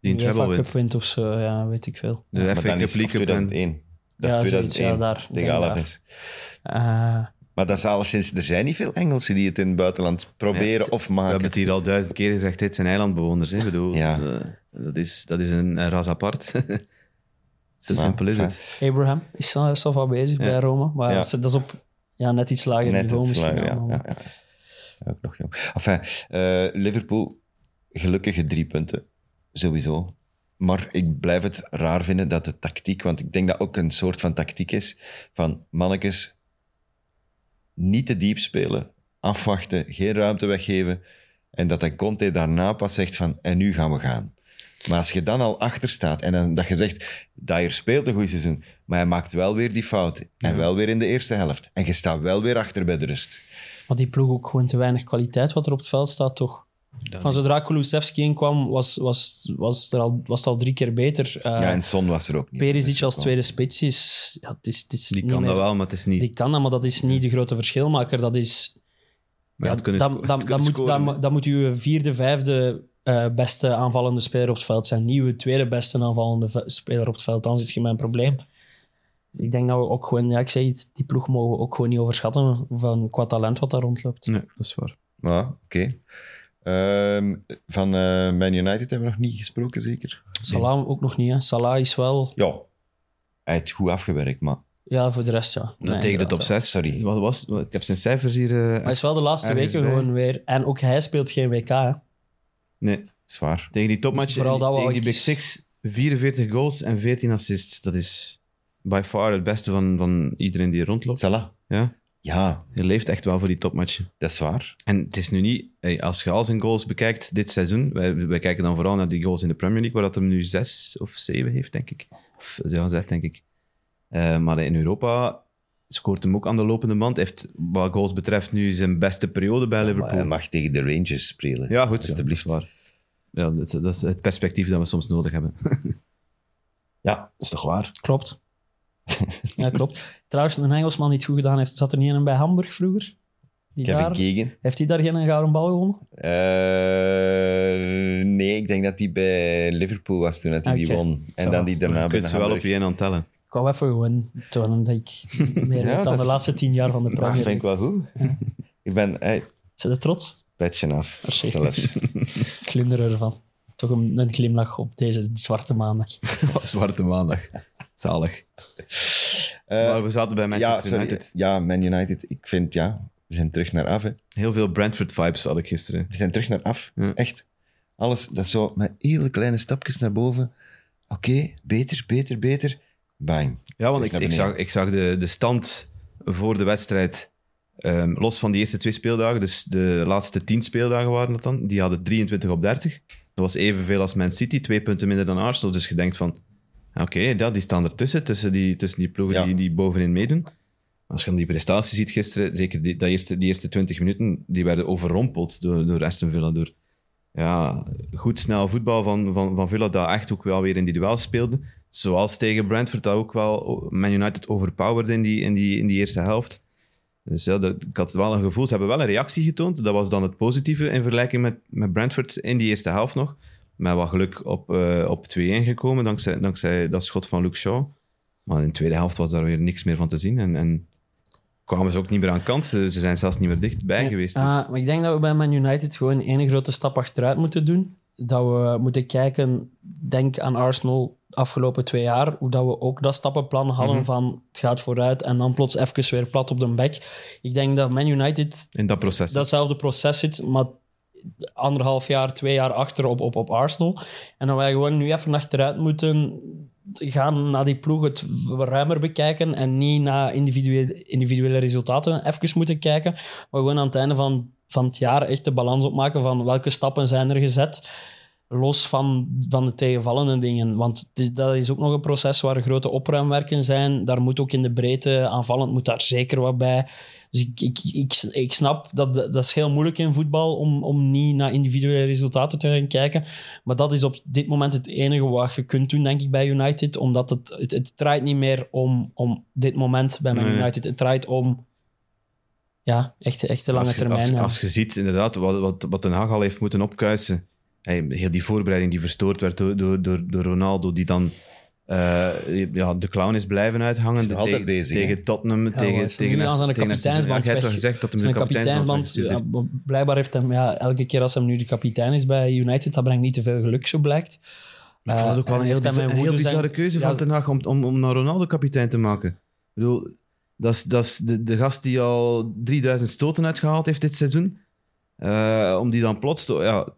Die een de UEFA treble Cup wint. wint of zo, ja, weet ik veel. De Maar FA dan Cup is het League Cup en- 2001. Dat Ja, is zoiets, 2001 ja, daar, tegen denk Alaves. Eh, Maar dat is alleszins... Er zijn niet veel Engelsen die het in het buitenland proberen het- of We maken. hebben het hier al duizend keer gezegd, dit zijn eilandbewoners. Hè? Ik bedoel, Ja. eh, dat, is, dat is een, een ras apart. Zo Maar, simpel is enfin, het. Abraham is al is al wel bezig bij Roma, maar Ja. dat, is, dat is op ja, net iets lager Net niveau het misschien. slagen, ja, allemaal. ja, ja. Ja, Ook nog jong. Enfin, eh, Liverpool, gelukkige drie punten. Sowieso. Maar ik blijf het raar vinden dat de tactiek, want ik denk dat ook een soort van tactiek is, van mannetjes niet te diep spelen, afwachten, geen ruimte weggeven. En dat dan Conte daarna pas zegt van, en nu gaan we gaan. Maar als je dan al achter staat en dan, dat je zegt, Dyer speelt een goed seizoen, maar hij maakt wel weer die fout. En Ja. wel weer in de eerste helft. En je staat wel weer achter bij de rust. Maar die ploeg ook gewoon te weinig kwaliteit wat er op het veld staat, toch? Van zodra Kulusevski inkwam, was, was, was, er al, was het al drie keer beter. Eh ja, en Son was er ook niet. Dus- Perisic als tweede spits is... Ja, het is, het is Die niet kan meer- dat wel, maar het is niet... Die kan dat, maar dat is niet de grote verschilmaker. Dat is maar ja, het kunnen dan- sco- dan- het dan kunnen moet- scoren. dan- Dan moet uw vierde, vijfde eh, beste aanvallende speler op het veld zijn. Niet uw tweede beste aanvallende ve- speler op het veld. Dan zit je met een probleem. Dus ik denk dat we ook gewoon, ja, ik zeg het, die ploeg mogen we ook gewoon niet overschatten van qua talent wat daar rondloopt. Nee, dat is waar. Ja, Ah, oké. Ehm, van eh, Man United hebben we nog niet gesproken, zeker? Salah ook nog niet. Hè. Salah is wel, Ja. Hij heeft goed afgewerkt, maar ja, voor de rest ja. Dan Nee, tegen de inderdaad, top ja. 6. Sorry. Wat was, wat- ik heb zijn cijfers hier... eh, Maar hij is wel de laatste Ergens weken bij. gewoon weer. En ook hij speelt geen WK. Hè. nee, zwaar. tegen die topmatch, Dus vooral dat we tegen die al Big kies- Six, 44 goals en 14 assists. Dat is by far het beste van, van iedereen die er rondloopt. Salah? Ja, Ja, hij leeft echt wel voor die topmatchen. dat is waar. En het is nu niet, hey, als je al zijn goals bekijkt dit seizoen, wij, wij kijken dan vooral naar die goals in de Premier League, waar dat hem nu zes of zeven heeft, denk ik. Of ja, zes, denk ik. Eh, maar in Europa scoort hem ook aan de lopende band. Heeft, wat goals betreft, nu zijn beste periode bij Maar hij Liverpool. mag tegen de Rangers spelen. ja, goed, Alsjeblieft. alsjeblieft. waar. Ja, dat, is, dat is het perspectief dat we soms nodig hebben. Ja, dat is toch waar? Klopt. ja, klopt. Trouwens, een Engelsman die het goed gedaan heeft, zat er niet een bij Hamburg vroeger? Die Kevin daar- Keegan? Heeft hij daar geen gouden bal gewonnen? Eh, nee, ik denk dat hij bij Liverpool was toen dat hij die Oké. won. En Zo. dan die daarna Je bij kunt ze wel op Hamburg. je één aan tellen. Ik wou even gewoon tonen dat ik meer Ja, weet dan dat de is- laatste tien jaar van de Dat Premier Ah, vind ik League. wel goed. ik ben... Hey, Zit je trots? petje af. Eh, Alsjeblieft. Zelfs. Ik glunder ervan. Toch een, een glimlach op deze zwarte maandag. Zwarte maandag. Zalig. Eh, maar we zaten bij ja, Manchester sorry. United. Ja, Man United. Ik vind, ja, we zijn terug naar af. Hè. Heel veel Brentford-vibes had ik gisteren. We zijn terug naar af. Ja. Echt. Alles, dat is zo met hele kleine stapjes naar boven. Oké, beter, beter, beter. Bang. Ja, Terug want ik, naar ik beneden. zag, ik zag de, de stand voor de wedstrijd, ehm, los van die eerste twee speeldagen, dus de laatste tien speeldagen waren dat dan, die hadden 23 op 30. Dat was evenveel als Man City, twee punten minder dan Arsenal. Dus je denkt van, oké, dat- die staan ertussen, tussen die, tussen die ploegen Ja. die, die bovenin meedoen. Als je dan die prestatie ziet gisteren, zeker die, dat eerste, die eerste 20 minuten, die werden overrompeld door, door Aston Villa. Door ja, goed snel voetbal van, van, van Villa, dat echt ook wel weer in die duel speelde. Zoals tegen Brentford, dat ook wel Man United overpowered in die, in die, in die eerste helft. Dus ja, dat, ik had wel een gevoel. Ze hebben wel een reactie getoond. Dat was dan het positieve in vergelijking met, met Brentford in die eerste helft nog. Met wat geluk op, eh, op 2-1 gekomen, dankzij, dankzij dat schot van Luke Shaw. Maar in de tweede helft was daar weer niks meer van te zien. En, en kwamen ze ook niet meer aan kansen. Ze zijn zelfs niet meer dichtbij geweest. Dus. Ah, maar ik denk dat we bij Man United gewoon één grote stap achteruit moeten doen. Dat we moeten kijken, denk aan Arsenal de afgelopen twee jaar, hoe dat we ook dat stappenplan hadden Mhm. van het gaat vooruit en dan plots even weer plat op de bek. Ik denk dat Man United in dat proces. datzelfde proces zit, maar anderhalf jaar, twee jaar achter op, op, op Arsenal. En dat wij gewoon nu even achteruit moeten gaan naar die ploeg het ruimer bekijken en niet naar individuele, individuele resultaten even moeten kijken, maar gewoon aan het einde van, van het jaar echt de balans opmaken van welke stappen zijn er gezet, los van, van de tegenvallende dingen. Want di- dat is ook nog een proces waar grote opruimwerken zijn. Daar moet ook in de breedte aanvallend moet daar zeker wat bij. Dus ik, ik, ik, ik snap dat dat is heel moeilijk in voetbal om, om niet naar individuele resultaten te gaan kijken. Maar dat is op dit moment het enige wat je kunt doen, denk ik, bij United. Omdat het, het, het draait niet meer om, om dit moment bij Man Nee. United. Het draait om ja, echt, echt de lange als je, termijn. Als, ja. als je ziet inderdaad wat, wat, wat Den Haag al heeft moeten opkuisen. Hey, heel die voorbereiding die verstoord werd door, door, door, door Ronaldo, die dan eh, ja, de clown is blijven uithangen. Is nog altijd tegen, bezig, hè? tegen Tottenham, tegen, hij is er tegen nu aan zijn tegen Aston Villa. kapiteinsband Ja, jij hebt wel weg- gezegd dat hem Zijn de kapiteinsband, kapiteinsband heeft. ja, b- blijkbaar heeft hem ja, elke keer als hem nu de kapitein is bij United, dat brengt niet te veel geluk, zo blijkt. Ik vond het ook wel Eh, een heel, en heeft hij bizar- mijn een heel woede zijn- bizarre keuze Ja, van Ten Hag om, om, om naar Ronaldo kapitein te maken. Ik bedoel, dat is, dat is de, de gast die al 3000 stoten uitgehaald heeft dit seizoen. Eh, om die dan plots... te- ja, Zou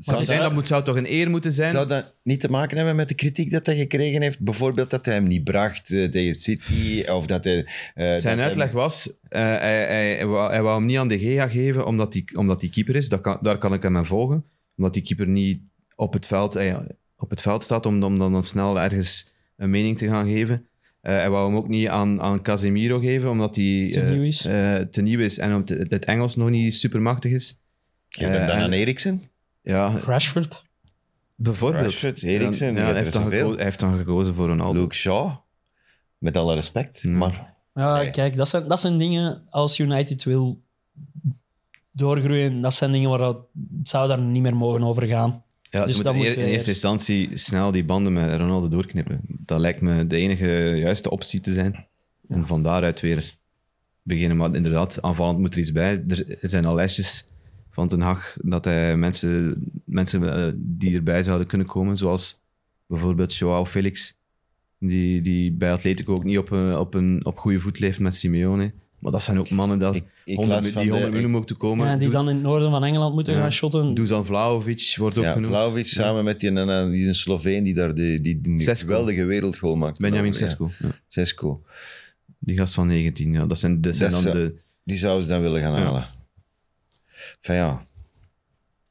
zou dat- zijn, dat moet, zou toch een eer moeten zijn? Zou dat niet te maken hebben met de kritiek dat hij gekregen heeft? Bijvoorbeeld dat hij hem niet bracht eh, tegen City, of dat hij... eh, dat Zijn hij- uitleg was, eh, hij, hij, hij, wou, hij wou hem niet aan de Gea geven omdat hij omdat die keeper is. Dat kan, daar kan ik hem aan volgen. Omdat die keeper niet op het veld, eh, op het veld staat om, om dan, dan snel ergens een mening te gaan geven. Eh, hij wou hem ook niet aan, aan Casemiro geven omdat hij Te eh, nieuw is. eh, te nieuw is en omdat het- het Engels nog niet supermachtig is. Geef dat dan Eh, aan Eriksen? Ja, Rashford. bijvoorbeeld. Rashford, Ja, Eriksen, ja, ja, hij, er heeft is dan zoveel. geko- hij heeft dan gekozen voor Ronaldo. Luke Shaw, met alle respect, Hmm. maar... Ja, Nee. kijk, dat zijn, dat zijn dingen als United wil doorgroeien. Dat zijn dingen waar dat- het zou daar niet meer mogen over gaan. Ja, Dus ze dat moeten eer- moet in weer- eerste instantie snel die banden met Ronaldo doorknippen. Dat lijkt me de enige juiste optie te zijn. En van daaruit weer beginnen. Maar inderdaad, aanvallend moet er iets bij. Er zijn al lijstjes van Ten Hag dat hij mensen, mensen eh, die erbij zouden kunnen komen, zoals bijvoorbeeld Joao Felix, die, die bij Atletico ook niet op een, op een op goede voet leeft met Simeone. Maar dat zijn ook mannen dat Ik, ik 100 las mi- van die de- 100 miljoen moeten komen. Ja, die Doe- dan in het noorden van Engeland moeten Ja. gaan shotten. Dusan Vlahovic wordt ook Ja, genoemd. Vlaovic samen met die, en- die is een Sloveen die daar de, die, die een Sesco. geweldige wereldgoal maakt. Benjamin Ja, Sesko. ja. Sesco. Die gast van 19, ja. Dat zijn, dat zijn Dat dan is, eh, de... Die zouden ze dan willen gaan Ja. halen. Van ja,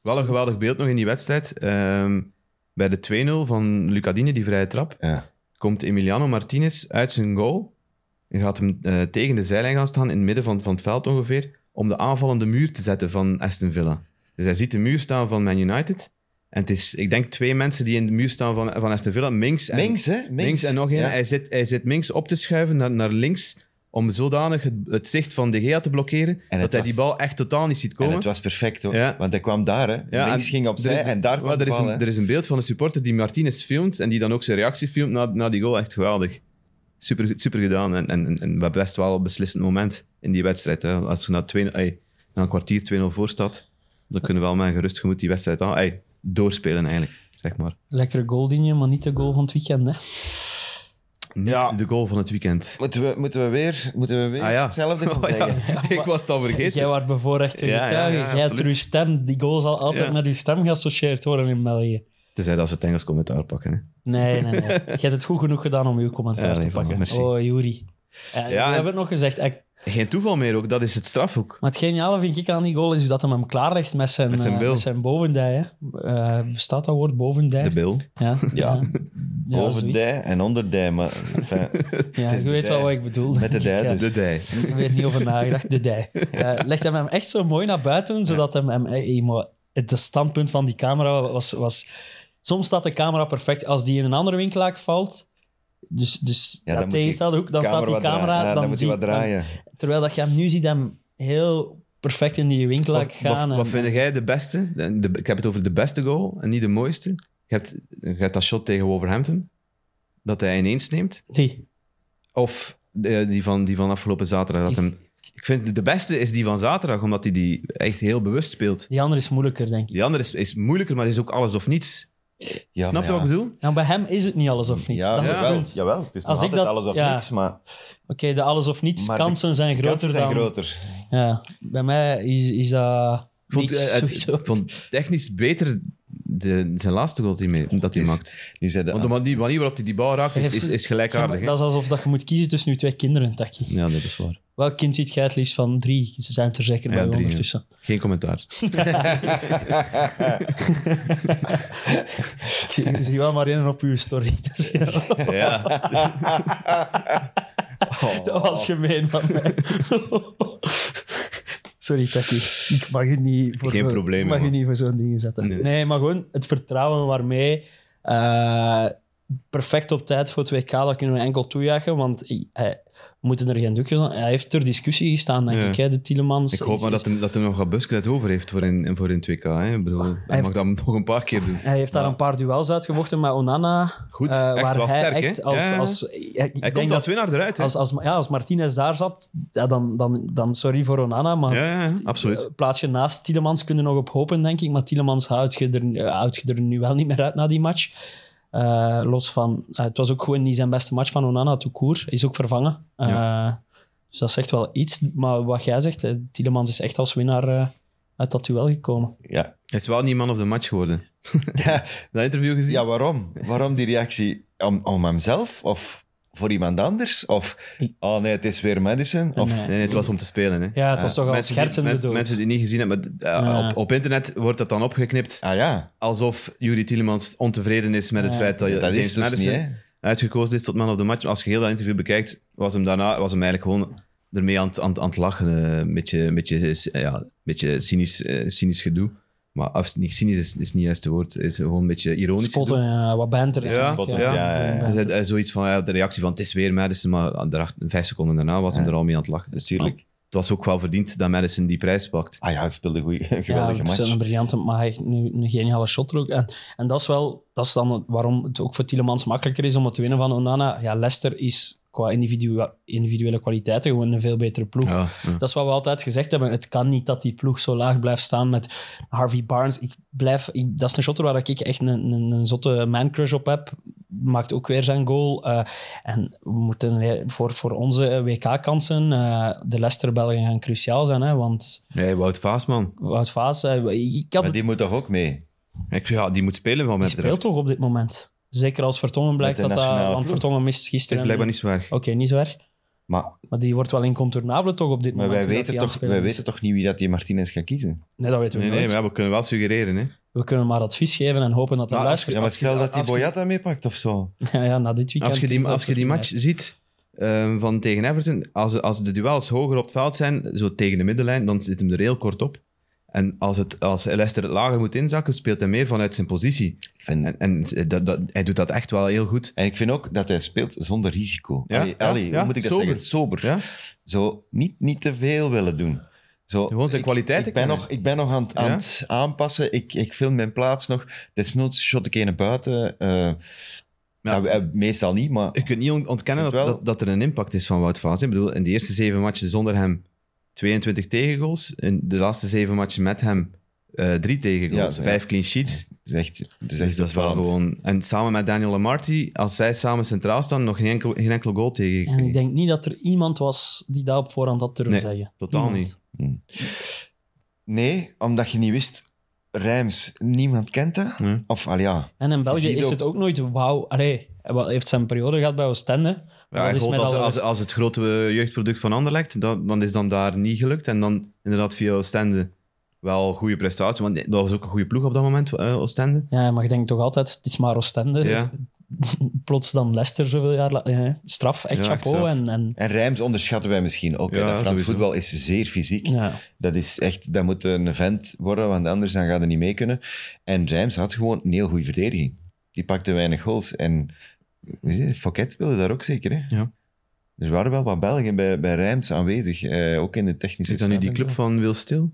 Wel een geweldig beeld nog in die wedstrijd. Ehm, bij de 2-0 van Lucadine, die vrije trap, ja. komt Emiliano Martinez uit zijn goal en gaat hem eh, tegen de zijlijn gaan staan, in het midden van, van het veld ongeveer, om de aanvallende muur te zetten van Aston Villa. Dus hij ziet de muur staan van Man United. En het is, ik denk, twee mensen die in de muur staan van, van Aston Villa. Minks en, Minks, hè? Minks, Links en nog één. Ja. Hij, zit, hij zit links op te schuiven naar, naar links. Om zodanig het, het zicht van De Gea te blokkeren. het dat hij was- die bal echt totaal niet ziet En komen. het was perfect hoor. Ja. Want hij kwam daar, hè? Ja, Links en ging er opzij is- en daar wel, kwam de er, is bal. een, hè. er is een beeld van een supporter die Martinez filmt. En die dan ook zijn reactie filmt na, na die goal. Echt geweldig. Super, goed- super gedaan. En, en, en- en we best wel een beslissend moment in die wedstrijd. Hè. Als je na, 2 ey, na een kwartier 2-0 voor staat. dan kunnen we wel met een gerust gemoed die wedstrijd aan. ey, doorspelen eigenlijk. Zeg maar. Lekkere goal, Digne, maar niet de goal van het weekend. Hè. Niet Ja. de goal van het weekend. Moeten we, moeten we weer, moeten we weer Ah ja. hetzelfde gaan Oh, ja. zeggen? Ik was het al Jij vergeten. was bevoorrecht Ja, ja, getuige. ja, Jij hebt absoluut. uw stem, die goal zal altijd Ja. met uw stem geassocieerd worden in België. Tenzij dat ze het Engels commentaar pakken. Hè. Nee, nee, nee. Je hebt het goed genoeg gedaan om uw commentaar Ja, te nee, voilà, pakken. merci. Oh, Juri. Eh, we en- hebben het nog gezegd. eh, Geen toeval meer ook, dat is het straf ook. Maar het geniale vind ik aan die goal is dat hij hem klaarlegt met zijn, Met zijn eh, bil. met zijn bovendij. Hè. Eh, bestaat dat woord bovendij? De bil. Ja. Ja. Ja, Boven zoiets. dij en onder dij, maar enfin, Ja, Het is je de weet wel dij. wat ik bedoel. Met de denk ik, dij ja. dus. De dij. Ik heb er niet over nagedacht. De dij. Eh, legt hem hem echt zo mooi naar buiten, zodat hem... hem eh, eh, maar het de standpunt van die camera was, was... Soms staat de camera perfect. Als die in een andere winkelaak valt... Dus, dus Ja, ja, dan moet die tegenstelde hoek, dan staat die wat draaien. camera... Ja, dan, dan, moet hij zie- wat draaien. dan- terwijl dat je hem nu ziet hem heel perfect in die winkelaak Wat, wat, gaan. en- wat vind jij de beste? De- de- ik heb het over de beste goal en niet de mooiste. Je hebt, je hebt dat shot tegen Wolverhampton, dat hij ineens neemt. Die. Of de- die, van, die van afgelopen zaterdag. Dat hem, ik vind de beste is die van zaterdag, omdat hij die echt heel bewust speelt. Die andere is moeilijker, denk ik. Die andere is, is moeilijker, maar is ook alles of niets. Ja, Snap je maar ja. wat ik bedoel? Nou, bij hem is het niet alles of niets. Ja, dat is het jawel, punt. Oké, jawel. Het is nog Als ik altijd dat- alles of ja. niks, maar de alles of niets Maar de kansen zijn groter kansen zijn dan... groter. Ja, bij mij is, is dat Ik vond, niets, eh, het- sowieso. ik vond technisch beter de, zijn laatste goal die mee, dat hij is- maakt. Die ah, zei de- Want de manier manier waarop hij die bal raakt is, is, is gelijkaardig. hè? Dat is alsof dat je moet kiezen tussen je twee kinderen, Taki. Ja, dat is waar. Welk kind ziet jij het liefst van drie? Ze zijn het er zeker Ja, bij drie, ja. ondertussen. Geen commentaar. Ik zie- ik zie wel maar één op uw story. Dus ja, Ja. Dat was gemeen van mij. Sorry, Taki. Ik mag je niet voor Geen zo'n- probleem, ik mag je man. niet voor zo'n dingen zetten. Nee. Nee. maar gewoon het vertrouwen waarmee... eh, perfect op tijd voor het WK, dat kunnen we enkel toejuichen, want hij, hij- we moeten er geen doekjes aan... Hij heeft ter discussie gestaan, denk Ja. ik, hè, de Tielemans. Ik hoop maar Is- dat hij dat hem nog wat buskruid over heeft voor in, voor in 2K. Hè. Ik bedoel, hij heeft- mag dat nog een paar keer doen. Hij heeft daar een paar duels uitgevochten met Onana. Goed, eh, echt waar wel hij sterk, hè? echt als, Ja. als, ik Hij denk komt dat als winnaar eruit. Hè. als, als, ja, als Martinez daar zat, ja, dan, dan, dan sorry voor Onana, maar ja, ja, ja, absoluut. eh, plaats je naast Tielemans kunnen nog op hopen, denk ik. Maar Tielemans houdt je, er, eh, houdt je er nu wel niet meer uit na die match. Eh, los van, eh, het was ook gewoon niet zijn beste match van Onana, tout court. Hij is ook vervangen. Eh, Dus dat zegt wel iets. Maar wat jij zegt, eh, Tielemans is echt als winnaar eh, uit dat duel gekomen. Ja. Hij is wel niet man of the match geworden. dat interview gezien? ja, waarom? Waarom die reactie? Om, om hemzelf? Of voor iemand anders? Of, oh nee, het is weer Madison? Of, Nee. Nee, nee, het was om te spelen. Hè. Ja, het was toch al mensen die- schertsende mensen, dood. mensen die het niet gezien hebben, maar, eh, Ja. op, op internet wordt dat dan opgeknipt Ah ja, alsof Juri Tielemans ontevreden is met het Ja. feit dat, je dat is James dus niet, Madison hè? uitgekozen is tot man of the match. Als je heel dat interview bekijkt, was hem daarna was hem eigenlijk gewoon ermee aan, het- aan, het- aan het lachen. eh, Een beetje, een beetje, eh, ja, een beetje cynisch, eh, cynisch gedoe. Maar af, niet, cynisch is, is niet juist het woord. is gewoon een beetje ironisch. Spotten, gedoe. ja, wat banter. Ja, eigenlijk, spotten, ja, ja, ja. Dus hij- hij zoiets van ja, de reactie van het is weer Madison, maar aan de acht- vijf seconden daarna was hem Ja. er al mee aan het lachen. Dus, Natuurlijk. maar het was ook wel verdiend dat Madison die prijs pakt. Ah ja, hij speelde een goeie- een geweldige ja, match. Een briljante, maar hij heeft nu een geniale shot er ook. En, en dat is wel dat is dan waarom het ook voor Tielemans makkelijker is om het te winnen van Onana. Ja, Leicester is qua individua- individuele kwaliteiten gewoon een veel betere ploeg. Ja, ja. Dat is wat we altijd gezegd hebben. Het kan niet dat die ploeg zo laag blijft staan met Harvey Barnes. Ik blijf, ik- dat is een shotter waar ik echt een, een, een zotte man-crush op heb. Maakt ook weer zijn goal. Eh, en we moeten eh, voor, voor onze WK-kansen, de Leicester-Belgen gaan cruciaal zijn. Hè, want Nee, Wout Vaasman. Wout Vaas, eh, ik had Maar die moet toch ook mee? Ik, ja, die moet spelen van mij Die speelt betreft. toch op dit moment? Zeker als Vertongen blijkt Met dat de dat... nationale Want ploeg. Vertongen mist Het is gisteren... blijkbaar niet zo erg. Oké, niet zo erg. Maar, Maar die wordt wel incontournabel toch op dit maar moment? wij, hoe dat weten die aan toch, het spelen wij is. weten toch niet wie dat die Martinez gaat kiezen? Nee, dat weten we Nee, nee, nooit. maar ja, we kunnen wel suggereren. Hè. We kunnen maar advies geven en hopen dat hij Maar Dus als je- luistert. Ja, maar Als je- stel dat die als je- Boyata meepakt of zo. Ja, ja, na dit weekend... Als je is die, dat als je die toch match ziet ehm, van tegen Everton, als, als de duels hoger op het veld zijn, zo tegen de middenlijn, dan zit hem er heel kort op. En als, het, als Leicester het lager moet inzakken, speelt hij meer vanuit zijn positie. Ik vind, En, en dat, dat, hij doet dat echt wel heel goed. en ik vind ook dat hij speelt zonder risico. Ja, Allee, ja, allee, hoe ja, moet ik dat sober. zeggen? Sober. Ja? Zo niet, niet te veel willen doen. Zo, Gewoon zijn ik- kwaliteiten Ik ben, kennen. nog, ik ben nog aan het, aan Ja? het aanpassen. Ik, ik film mijn plaats nog. Desnoods shot ik een naar buiten. eh, Ja. nou, eh, meestal niet, maar Je kunt niet on- ontkennen Ik dat, vind wel- dat, dat er een impact is van Wout Vaas. Ik bedoel, in de eerste zeven matchen zonder hem 22 tegengoals. In de laatste zeven matchen met hem eh, drie tegengoals, Ja, ja. vijf clean sheets. Het is echt, het is echt Dus dat is wel opvallend. gewoon... En samen met Daniel Lamarty, als zij samen centraal staan, nog geen enkel, geen enkel goal tegen. En ik denk niet dat er iemand was die dat op voorhand had durven Nee, zeggen. totaal Niemand. niet. Nee, omdat je niet wist. Rijms, niemand kent dat. Nee. Of, al ja. En in Je België ziet is ook- het ook nooit wauw. Allee, hij wa- heeft zijn periode gehad bij Oostende. Ja, dat ik is hoop met als, alle als, rest- als het grote jeugdproduct van Anderlecht, dan, dan is dan daar niet gelukt. En dan inderdaad via Oostende wel een goede prestatie. Want dat was ook een goede ploeg op dat moment, eh, Oostende. Ja, maar je denkt toch altijd, het is maar Oostende. Ja. Plots dan Leicester zoveel jaar la- ja, Straf, echt Ja, echt chapeau. straf. En, en, En Rijms onderschatten wij misschien ook. hè. Ja, dat Frans sowieso. voetbal is zeer fysiek. ja. Dat, is echt, dat moet een vent worden, want anders dan gaat hij niet mee kunnen. En Rijms had gewoon een heel goede verdediging. Die pakte weinig goals. En weet je, Fouquet wilde daar ook zeker. Hè? Ja. Er waren wel wat Belgen bij, bij Rijms aanwezig, eh, ook in de technische Zit dan nu staf en die club zo. van Wil Stil?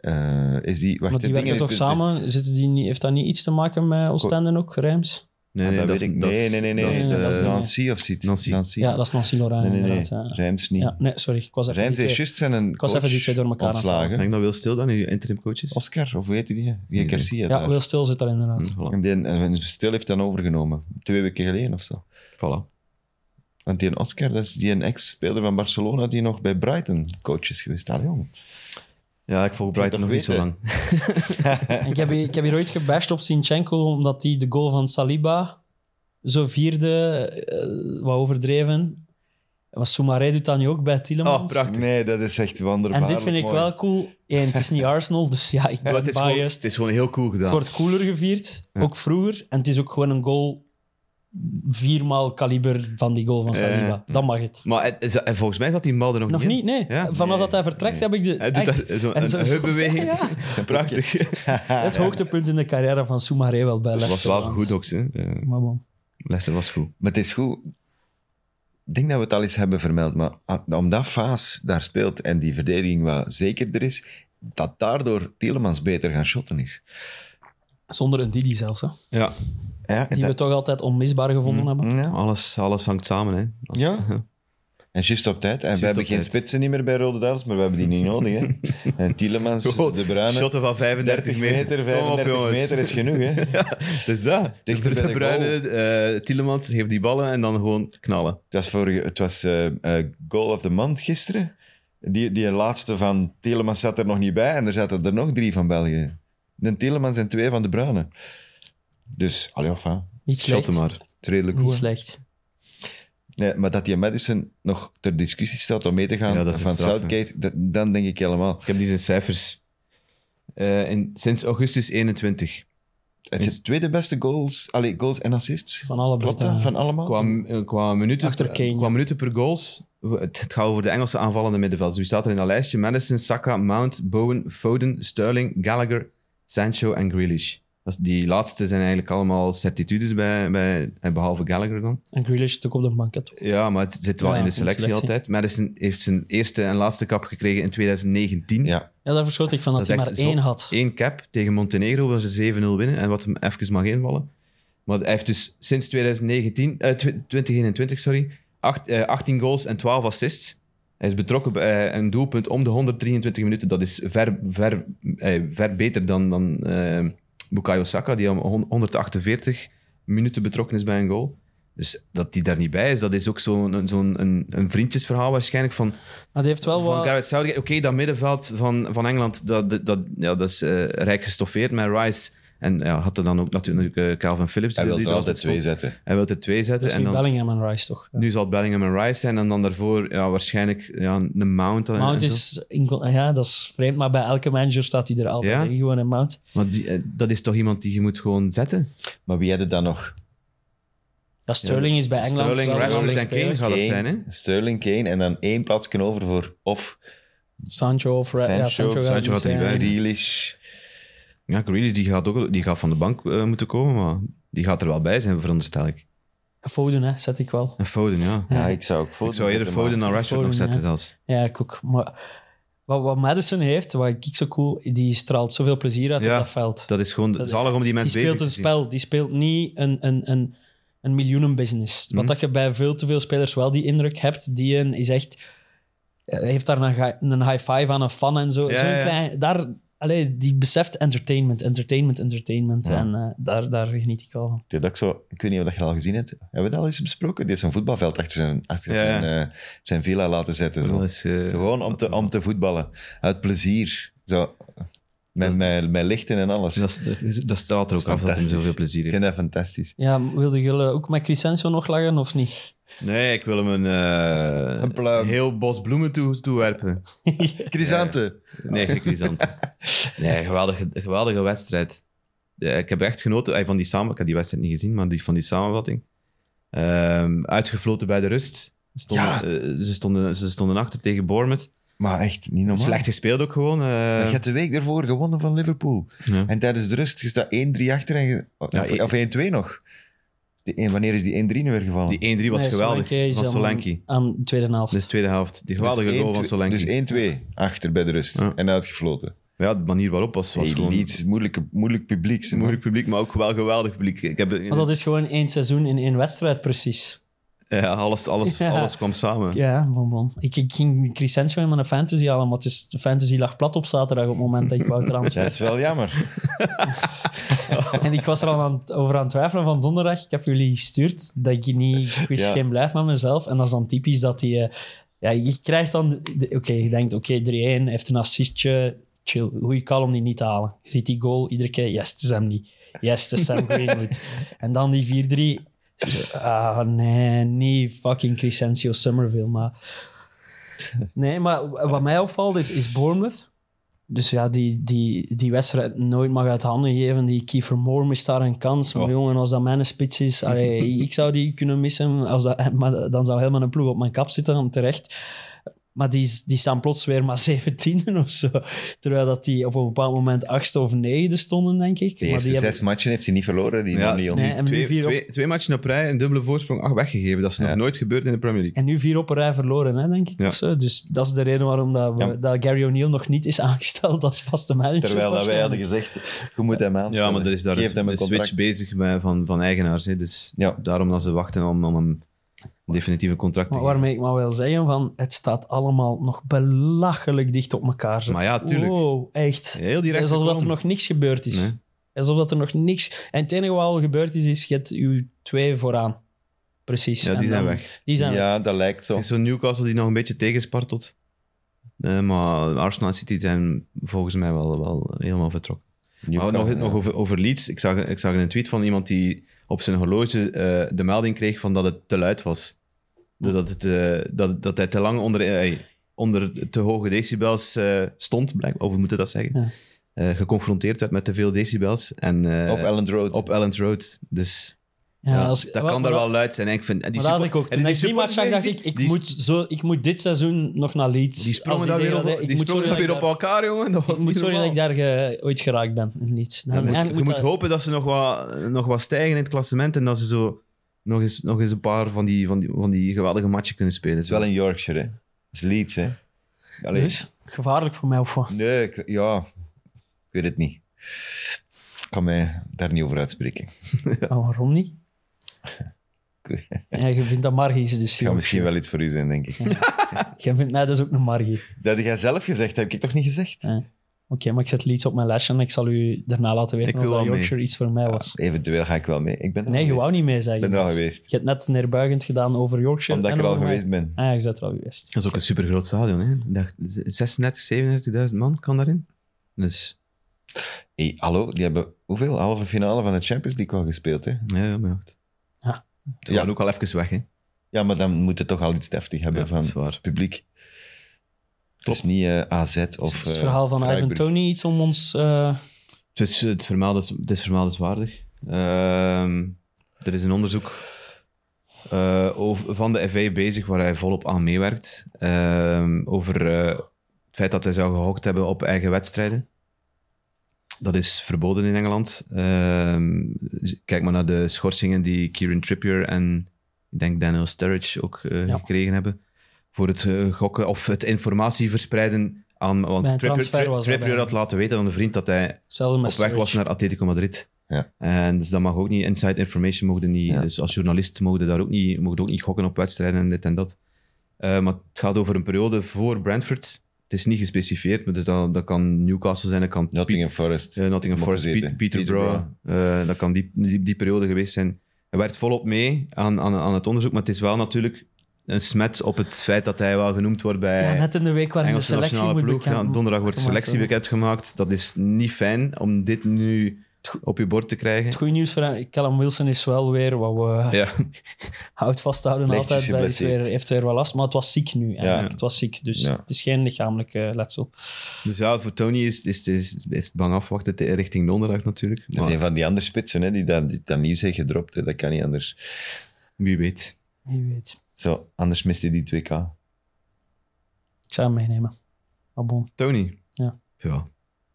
Eh, is die, wacht, Want die het ding werken is toch de- samen? Zitten die niet, heeft dat niet iets te maken met Oostende ook, Reims? Nee, Ah, dat is- weet ik. is- Nee, nee, nee. nee. Dat is, Nee, eh, dat is een- Nancy of zoiets. Nancy. Ja, dat is Nancy Lorraine, Nee, nee, nee. inderdaad. Ja. Rijms niet. Ja, nee, sorry. Ik was even eh, Rijms die heeft twee- juist zijn een was coach even die twee door elkaar aan het ik ontslagen. denk dat Wil Stil dan nu interim coach is. Oscar, of weet je die? Via Nee. Garcia Ja, daar. Wil Stil zit daar inderdaad. Hm, voilà. En die, eh, en Stil heeft dan overgenomen. Twee weken geleden of zo. Voilà. Want die Oscar, dat is die een ex-speler van Barcelona die nog bij Brighton coach is geweest. Allee, jong. Ja, ik volg Je Brighton moet nog toch niet zo lang. weten. Mm. En ik, heb, hier- ik heb hier ooit gebashed op Sinchenko, omdat hij de goal van Saliba zo vierde, eh, wat overdreven. Maar Soumaré doet dat nu ook bij Oh, Tielemans. prachtig. Nee, dat is echt en wonderbaarlijk dit vind ik mooi. wel cool. Eén, het is niet Arsenal, dus ja, ik Maar ben het, is gewoon, biased. het is gewoon heel cool gedaan. Het wordt cooler gevierd, Ja. ook vroeger. En het is ook gewoon een goal viermaal kaliber van die goal van Saliba. Dan mag het. Maar het is- en volgens mij zat die bal er Mm. nog, Nog niet in. niet, nee. Ja? Vanaf dat hij vertrekt heb ik de, Hij doet echt dat, zo, en een zo- een heupbeweging. Ja, Prachtig. het hoogtepunt in de carrière van Soumaré wel bij Dat was Leicester. wel want- goed ook, hè. Eh, Maar bon. Leicester was goed. Maar het is goed. Ik denk dat we het al eens hebben vermeld, maar a- omdat Faas daar speelt en die verdediging wat zekerder is, dat daardoor Tielemans beter gaan shotten is. Zonder een Didi zelfs, hè. Ja, Ja, en, Die we dat- toch altijd onmisbaar Mm. gevonden hebben. ja. alles, alles hangt samen, hè. Als- Ja. en juist op tijd. En Juist we hebben op geen tijd. spitsen niet meer bij Rode Duivels, maar we hebben die niet nodig. Hè. En Tielemans, Gewoon De Bruyne, Shotten van 35 30 meter, Kom op, 35 jongens. meter is genoeg. Hè. Dus dat. Dichter bij de de Bruyne, eh Tielemans geeft die ballen en dan gewoon knallen. Het was, vorige, het was eh, eh, Goal of the Month gisteren. Die, die laatste van Telemans zat er nog niet bij en er zaten er nog drie van België. Een Telemans en twee van de Bruine. Dus, allee, enfin, Niet slecht. Shotten maar. het is redelijk Niet goed. slecht. Nee, maar dat die Madison nog ter discussie staat om mee te gaan Ja, dat is van straf, hè. Southgate, dat- dan denk ik helemaal. Ik heb die zijn cijfers. Eh, in, sinds augustus 21. Het is de tweede beste goals, allee, goals en assists. Van alle Klopt Britten. dat? Van allemaal? Qua, eh, qua, minuten, Oh. Achter Kane, qua ja. minuten per goals. Het, het gaat over de Engelse aanvallende middenvelders. Wie staat er in dat lijstje? Madison, Saka, Mount, Bowen, Foden, Sterling, Gallagher, Sancho en Grealish. Dat is- Die laatste zijn eigenlijk allemaal certitudes, bij, bij, eh, behalve Gallagher dan. En Grealish zit ook op de bank. hè, toch? Ja, maar het zit wel Ja, in de in de selectie, selectie. altijd. Madison heeft zijn eerste en laatste cap gekregen in 2019. Ja. Ja, daar verschoot ik van dat, is hij maar echt één zot. had. Eén cap tegen Montenegro, waar ze 7-0 winnen en wat hem even mag invallen. Maar hij heeft dus sinds 2019, eh, tw- 2021 sorry, acht- eh, 18 goals en 12 assists. Hij is betrokken bij eh, een doelpunt om de 123 minuten. Dat is ver, ver, eh, ver beter dan, dan eh, Bukayo Saka, die om hon- 148 minuten betrokken is bij een goal. Dus dat hij daar niet bij is, dat is ook zo'n zo'n een, een vriendjesverhaal waarschijnlijk van Maar die heeft wel van wat... Gareth Southgate. Oké, dat middenveld van, van Engeland, dat, dat, dat- ja, dat is eh, rijk gestoffeerd met Rice. En ja, had er dan ook natuurlijk eh, Calvin Phillips. Hij die- wil die er altijd stond. twee zetten. Hij wil er twee zetten. Dat is en Dus nu dan, Bellingham en Rice, toch? Ja. nu zal het Bellingham en Rice zijn. En dan daarvoor ja, waarschijnlijk ja, een Mount. en- Mount en zo. is... in- ja, dat is vreemd, maar bij elke manager staat hij er altijd Ja? in. Gewoon een Mount. Maar die, eh, dat is toch iemand die je moet gewoon zetten? Maar wie hadden dan nog? Ja, Sterling is bij Engeland... Sterling, wel Rashford een en Kane. speler. Zou dat zijn, hè? Sterling, Kane en dan één plaatsje over voor of Sancho of... Ra- ja, Sancho. Sancho, Sancho gaat er niet zijn. bij. Grealish. Ja, Grealish die gaat, ook, die gaat van de bank eh, moeten komen, maar die gaat er wel bij zijn, veronderstel ik. Foden, hè, zet ik wel. En Foden, ja. Ja, ik zou ook Ik zou eerder zetten, maar- Foden dan Rashford nog Foden, zetten ja. zelfs. Ja, ik ook. Maar wat, wat Madison heeft, wat ik zo cool... Die straalt zoveel plezier uit Ja. op dat veld. Dat is gewoon Dat is- zalig om die die mensen bezig speelt te een zien. spel, die speelt niet een, een, een, een miljoenenbusiness. Wat Mhm. dat je bij veel te veel spelers wel die indruk hebt, die een is echt... eh, Heeft daar een, ga- een high five aan een fan en zo. Ja, Zo'n ja. Klein, daar, allee, die beseft entertainment, entertainment, entertainment. Ja. En eh, daar, daar geniet ik al van. Ik, denk dat ik, zo, ik weet niet of dat je dat al gezien hebt. Hebben we dat al eens besproken? Die heeft zo'n voetbalveld achter zijn, achter Ja, ja. zijn, eh, zijn villa laten zetten. Zo. Dat is, eh, Gewoon om te, om te voetballen. Uit plezier. Zo. Met, met, met lichten en alles. Dus dat, is- dat straalt er ook af dat hij Dus fantastisch. zoveel Ik plezier heeft. vind dat fantastisch. Ja, wilde jullie ook met Crescencio nog lachen of niet? Nee, ik wil hem een, eh, Een pluim. heel bos bloemen toe, toewerpen. Chrysanthe. Nee, gekrisant. nee, geweldige, geweldige wedstrijd. Ja, ik heb echt genoten eh, van die samen. Ik heb die wedstrijd niet gezien, maar die, van die samenvatting. Ehm, uitgefloten bij de rust. Stonden, Ja. eh, ze, stonden, ze stonden achter tegen Bournemouth. Maar echt niet normaal. Slecht gespeeld ook gewoon. eh. Je hebt de week daarvoor gewonnen van Liverpool. Ja. En tijdens de rust, je staat 1-3 achter. En je- of Ja, of 1-2 nog. Die, één- wanneer is die 1-3 nu weer gevallen? Die 1-3 was Nee, geweldig. Solanke is Van aan- Solanki. Aan de tweede helft. Dus de tweede helft. Die Dus geweldige goal van 1-2 Solanki. Dus 1-2 achter bij de rust. Ja. En uitgefloten. Ja, de manier waarop was, was Hey, gewoon Leeds, moeilijke, moeilijk publiek. zeg maar. moeilijk publiek, maar ook wel geweldig publiek. Ik heb, Want dat is gewoon één seizoen in één wedstrijd, precies. ja, alles, alles, Ja. alles kwam samen. Ja, bon, bon. Ik, ik ging Crescencio in mijn fantasy halen, maar het is, de fantasy lag plat op zaterdag op het moment dat ik wou transfer. Dat is wel jammer. En ik was er al aan, het- over aan het twijfelen van donderdag. Ik heb jullie gestuurd dat ik niet... Ik wist Ja. geen blijf met mezelf. En dat is dan typisch dat hij... eh, ja, je krijgt dan... de- Oké, je denkt, oké, 3-1, heeft een assistje. Chill, goeie call om die niet te halen. Je ziet die goal iedere keer. Yes, het is hem niet. Yes, het is Sam Greenwood. en dan die 4-3. Ah, nee, niet fucking Crescencio Somerville, maar... Nee, maar wat mij opvalt is, is Bournemouth. Dus ja, die, die, die wedstrijd nooit mag uit handen geven. Die Kiefer Moore mist daar een kans. Maar Oh. jongen, als dat mijn spits is, allee, ik zou die kunnen missen. Als dat, maar dan zou helemaal een ploeg op mijn kap zitten, om terecht. Maar die, is- die staan plots weer maar 17 of zo. Terwijl dat die op een bepaald moment achtste of negende stonden, denk ik. De maar eerste die zes matchen heeft hij niet verloren. Die Ja, nog niet nee, ontmoet. en, nu Twee, vier op, twee, twee matchen op rij, een dubbele voorsprong, ach, weggegeven. Dat is nog Ja. nooit gebeurd in de Premier League. en nu vier op een rij verloren, hè, denk ik. Ja. Of zo. Dus dat is de reden waarom dat, we- Ja. dat Gary O'Neill nog niet is aangesteld als vaste manager. Terwijl dat wij waarschijnlijk. hadden gezegd, je moet hem aanstellen. Ja, maar er is daar Geef een, hem een een switch contract. bezig bij, van, van eigenaars. Hè. Dus Ja. daarom dat ze wachten om, om hem definitieve contract te Maar geven. waarmee ik maar wil zeggen, van, het staat allemaal nog belachelijk dicht op elkaar. zo. Maar ja, tuurlijk. Wow, echt. Heel direct Het is alsof Dus dat er gekomen. nog niks gebeurd is. Nee. Alsof dat er nog niks... En het enige wat al gebeurd is, is je hebt uw twee vooraan. Precies. Ja, En die zijn dan- weg. Die zijn weg. Ja, dat lijkt Er zo. is zo'n Newcastle die nog een beetje tegenspartelt. Eh, maar Arsenal en City zijn volgens mij wel, wel helemaal vertrokken. Maar Newcastle, Oh, nog, ja. nog over, over Leeds. Ik zag, ik zag een tweet van iemand die op zijn horloge eh, de melding kreeg van dat het te luid was. Doordat het, eh, dat, dat hij te lang onder, eh, onder te hoge decibels eh, stond, blijkbaar. Of hoe moet je dat zeggen? Ja. Eh, geconfronteerd werd met te veel decibels. En, eh, op Elland Road. op Elland Road. Dus Ja, ja, als- dat maar- kan maar daar wel luid zijn. En ik vind, en die Maar dat had support- ik ook. en Toen ik die match supporters zag, dacht weer ik, gezien, ik, die- moet zo, ik moet dit seizoen nog naar Leeds. Die Als sprongen daar weer, degradeer- op, die ik moet sprongen daar zorgen weer dat op ik daar- elkaar, jongen. Dat was Ik moet niet zorgen dat ik normaal. daar ge- ooit geraakt ben in Leeds. Je En- moet, en je moet eh, moet dat- hopen dat ze nog wat, nog wat stijgen in het klassement en dat ze zo nog eens, nog eens een paar van die, van die, van die geweldige matchen kunnen spelen. Dat is wel in Yorkshire, hè. Dat is Leeds, hè. Allee. Dus, gevaarlijk voor mij of wat? Nee, ik, ja, ik weet het niet. Ik kan mij daar niet over uitspreken. Ik Maar Oh, waarom niet? weet- Het Ja, je vindt dat Margie dus. kan joh. misschien wel iets voor u zijn, denk ik. Jij vindt mij dus ook een Margie. Dat heb jij zelf gezegd, heb ik toch niet gezegd? Ja. Oké, maar ik zet Leeds op mijn lesje en ik zal u daarna laten weten Ik of wil dat wel mee. Yorkshire iets voor mij was. Eventueel ga ik wel mee. Ik ben er nee, al je geweest. wou niet mee zeggen. Ik ben er al geweest. Je hebt net neerbuigend gedaan over Yorkshire. Omdat en ik er al over mij. geweest ben. Ah ja, je bent er al geweest. Dat is ook een supergroot stadion. Hè? Ik dacht, 36, 37.000 man kan daarin. Dus Hey, hallo, die hebben hoeveel? Halve finale van de Champions League wel gespeeld, hè? ja, ja, maar ja. goed. Ja. Ze waren ook al even weg. Hè? Ja, maar dan moet het toch al iets deftig hebben Ja, van dat is waar. het publiek. Het is niet eh, AZ of... Is het eh, verhaal van Ivan Freiburg. Tony iets om ons... eh, Het is, het vermaal is, het is vermeldenswaardig. Ehm, er is een onderzoek eh, over, van de FA bezig waar hij volop aan meewerkt. Ehm, over eh, het feit dat hij zou gehokt hebben op eigen wedstrijden. Dat is verboden in Engeland. Ehm, kijk maar naar de schorsingen die Kieran Trippier en ik denk Daniel Sturridge ook eh, Ja. gekregen hebben. Voor het eh, gokken of het informatie verspreiden aan. Want Bij een Trippier, transfer was dat Trippier bij had hem. laten weten aan een vriend dat hij Hetzelfde met op weg was Sturridge. naar Atletico Madrid. Ja. En dus dat mag ook niet. Inside information mogen niet. Ja. Dus als journalist mogen daar ook niet, mogen ook niet gokken op wedstrijden en dit en dat. Eh, maar het gaat over een periode voor Brentford. Het is niet gespecificeerd, maar dus dat, dat kan Newcastle zijn, dat kan Nottingham Forest. eh, Nottingham Moet Forest, gezeten. Piet- Peterborough. eh, dat kan die, die, die periode geweest zijn. Hij werkt volop mee aan, aan, aan het onderzoek, maar het is wel natuurlijk een smet op het feit dat hij wel genoemd wordt bij Ja, net in de week waarin Engelse de selectie nationale moet ploeg. bekend Ja, donderdag wordt de selectie bekend. bekendgemaakt. Dat is niet fijn om dit nu op je bord te Het krijgen. goede nieuws voor hem, Callum Wilson is wel weer wat we Ja, houdt vasthouden Lichtjes altijd. Bij, is geblesseerd. weer, heeft weer wel last, maar het was ziek nu eigenlijk. Ja. Het was ziek, dus Ja. het is geen lichamelijk eh, letsel. dus ja, voor Tony is het is, is, is het bang afwachten te- richting donderdag natuurlijk. Dat is Maar een van die andere spitsen hè, die dat, die dat nieuws heeft gedropt. Hè. Dat kan niet anders. wie weet. Wie weet. Zo, anders mist hij die 2K. Ik zou hem meenemen. Maar bon, Tony. Ja. Ja,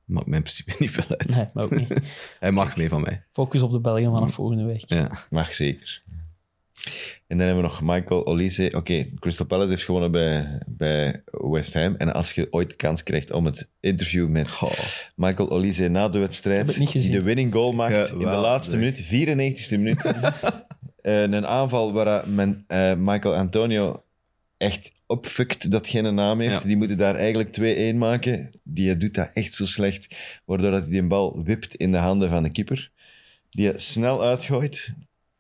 maakt mij in principe niet veel uit. nee, maar ook niet. Hij mag mee van mij. Focus op de Belgen Mm. vanaf volgende week. Ja. Mag zeker. En dan hebben we nog Michael Olise. Oké, Crystal Palace heeft gewonnen bij, bij West Ham. En als je ooit de kans krijgt om het interview met Michael Olise na de Heb ik wedstrijd, niet gezien. die de winning goal maakt in de Geweldig. laatste minuut, 94e minuut. Eh, een aanval waar men, eh, Michael Antonio echt opfukt dat geen naam heeft. Ja. Die moeten daar eigenlijk 2-1 maken. Die eh, doet dat echt zo slecht, waardoor dat hij die bal wipt in de handen van de keeper. Die eh, snel uitgooit.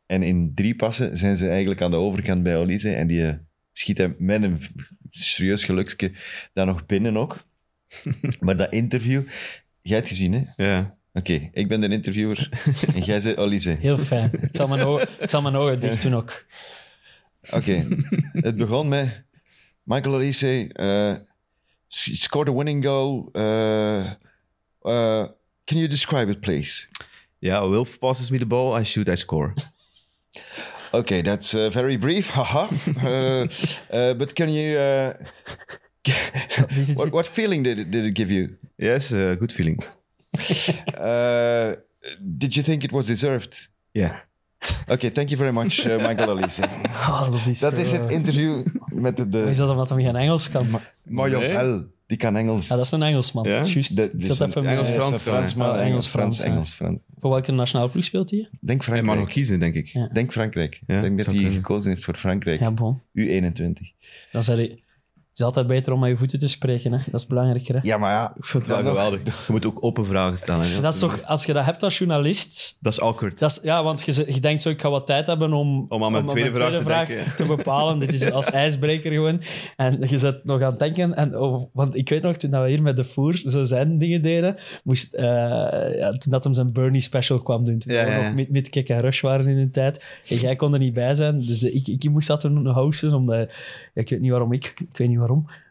En in drie passen zijn ze eigenlijk aan de overkant bij Olise. En die eh, schiet hem met een v- serieus geluksje daar nog binnen ook. maar dat interview... Jij hebt gezien, hè? Oké, Ja. ik ben de interviewer. en jij bent Olise. Heel fijn. Ik zal mijn ogen, ik zal mijn ogen dicht doen ook. Oké, het begon met Michael Olise eh, s- scored a winning goal. Eh, eh, can you describe it, please? ja, Wilf passes me the ball, I shoot, I score. Oké, that's eh, very brief, haha. Eh, eh, but can you... eh, is what, what feeling did it, did it give you? Yes, eh, good feeling. Eh, did you think it was deserved? Ja. Oké, thank you very much, eh, Michael Olise. Oh, dat is, Dat zo, is het eh, interview met de... de Is dat omdat hij geen Engels kan? Ja, Mario Nee. L. Die kan Engels. dat is een Engelsman. Ja? Juist. De- Ik dit zat is een even mee. Engels- Frans, Frans, Frans, kan, maar hè? Ah, Engels, Engels-Frans, Frans, ja. Engels, Frans. Voor welke nationale ploeg speelt hij? Denk Hij Frankrijk. mag nog kiezen, denk ik. Ja. Denk Frankrijk. Ja, Ik denk dat zou hij kunnen. gekozen heeft voor Frankrijk. Ja, bon. U21. Dan zei hij... Het is altijd beter om met je voeten te spreken, hè. Dat is belangrijker, hè. Ja, maar ja. Ik vind het wel Dan nog- geweldig. Je moet ook open vragen stellen. hè. Dat is toch... Als je dat hebt als journalist... Dat is awkward. Dat is, ja, want je, ze- je denkt zo, ik ga wat tijd hebben om, Om aan mijn tweede vraag te denken. te bepalen. Dit is als ijsbreker gewoon. En je zit nog aan het denken. En, oh, want ik weet nog, toen dat we hier met de voer zo zijn dingen deden, moest, eh, ja, toen dat hem zijn Bernie special kwam doen, toen Ja, we ja, ja. nog met, met Kick en Rush waren in de tijd. En jij kon er niet bij zijn, dus eh, ik, ik moest dat toen hosten, omdat... ja, ik weet niet waarom ik, ik weet niet waarom.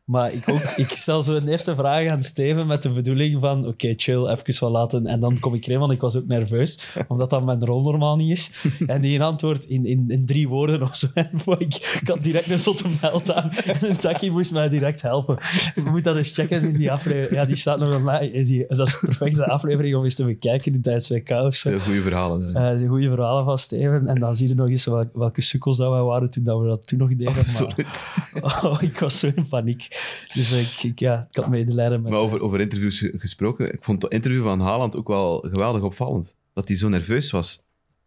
Maar ik, ook, ik stel zo een eerste vraag aan Steven met de bedoeling van oké, chill, even wat laten. En dan kom ik erin, want ik was ook nerveus, omdat dat mijn rol normaal niet is. En die een antwoord in, in, in drie woorden of zo. En boy, ik, ik had direct een zotte meld aan. En een takkie moest mij direct helpen. Je moet dat eens checken in die aflevering. Ja, die staat nog online. Die, dat is een perfecte aflevering om eens te bekijken in tijdens WK of zo. Heel goede verhalen. daarin. Eh, dat zijn goede verhalen van Steven. En dan zie je nog eens wel- welke sukkels dat wij waren toen dat we dat toen nog deden. maar- Absoluut. Oh, ik was zo in paniek. Dus ik, ik, ja, ik had medelijden met... Maar over, over interviews ge- gesproken, ik vond het interview van Haaland ook wel geweldig opvallend. Dat hij zo nerveus was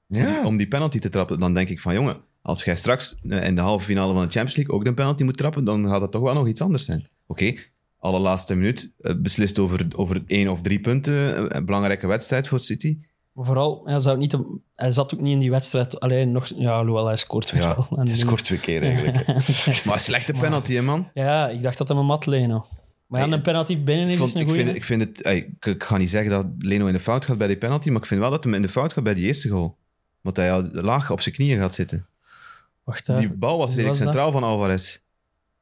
ja. om die penalty te trappen. Dan denk ik van, jongen, als jij straks eh, in de halve finale van de Champions League ook de penalty moet trappen, dan gaat dat toch wel nog iets anders zijn. Oké, allerlaatste minuut, eh, beslist over, over één of drie punten, eh, een belangrijke wedstrijd voor City. Maar Vooral, hij, zou niet, hem- hij zat ook niet in die wedstrijd. Alleen nog... Ja, Luel, hij scoort weer Ja, wel. En Hij nu- scoort twee keer eigenlijk. hè. Maar slechte penalty, hè, man. Ja, ik dacht dat hij een mat leno. Maar ja, Nee, een penalty binnen Ik, is, vond- is een ik, goeie. vind, ik, vind het, ey, ik, ik ga niet zeggen dat Leno in de fout gaat bij die penalty, maar ik vind wel dat hij in de fout gaat bij die eerste goal. Want hij al laag op zijn knieën gaat zitten. Wacht, hè. Die Mm, bal was Wie redelijk was dat? centraal van Alvarez.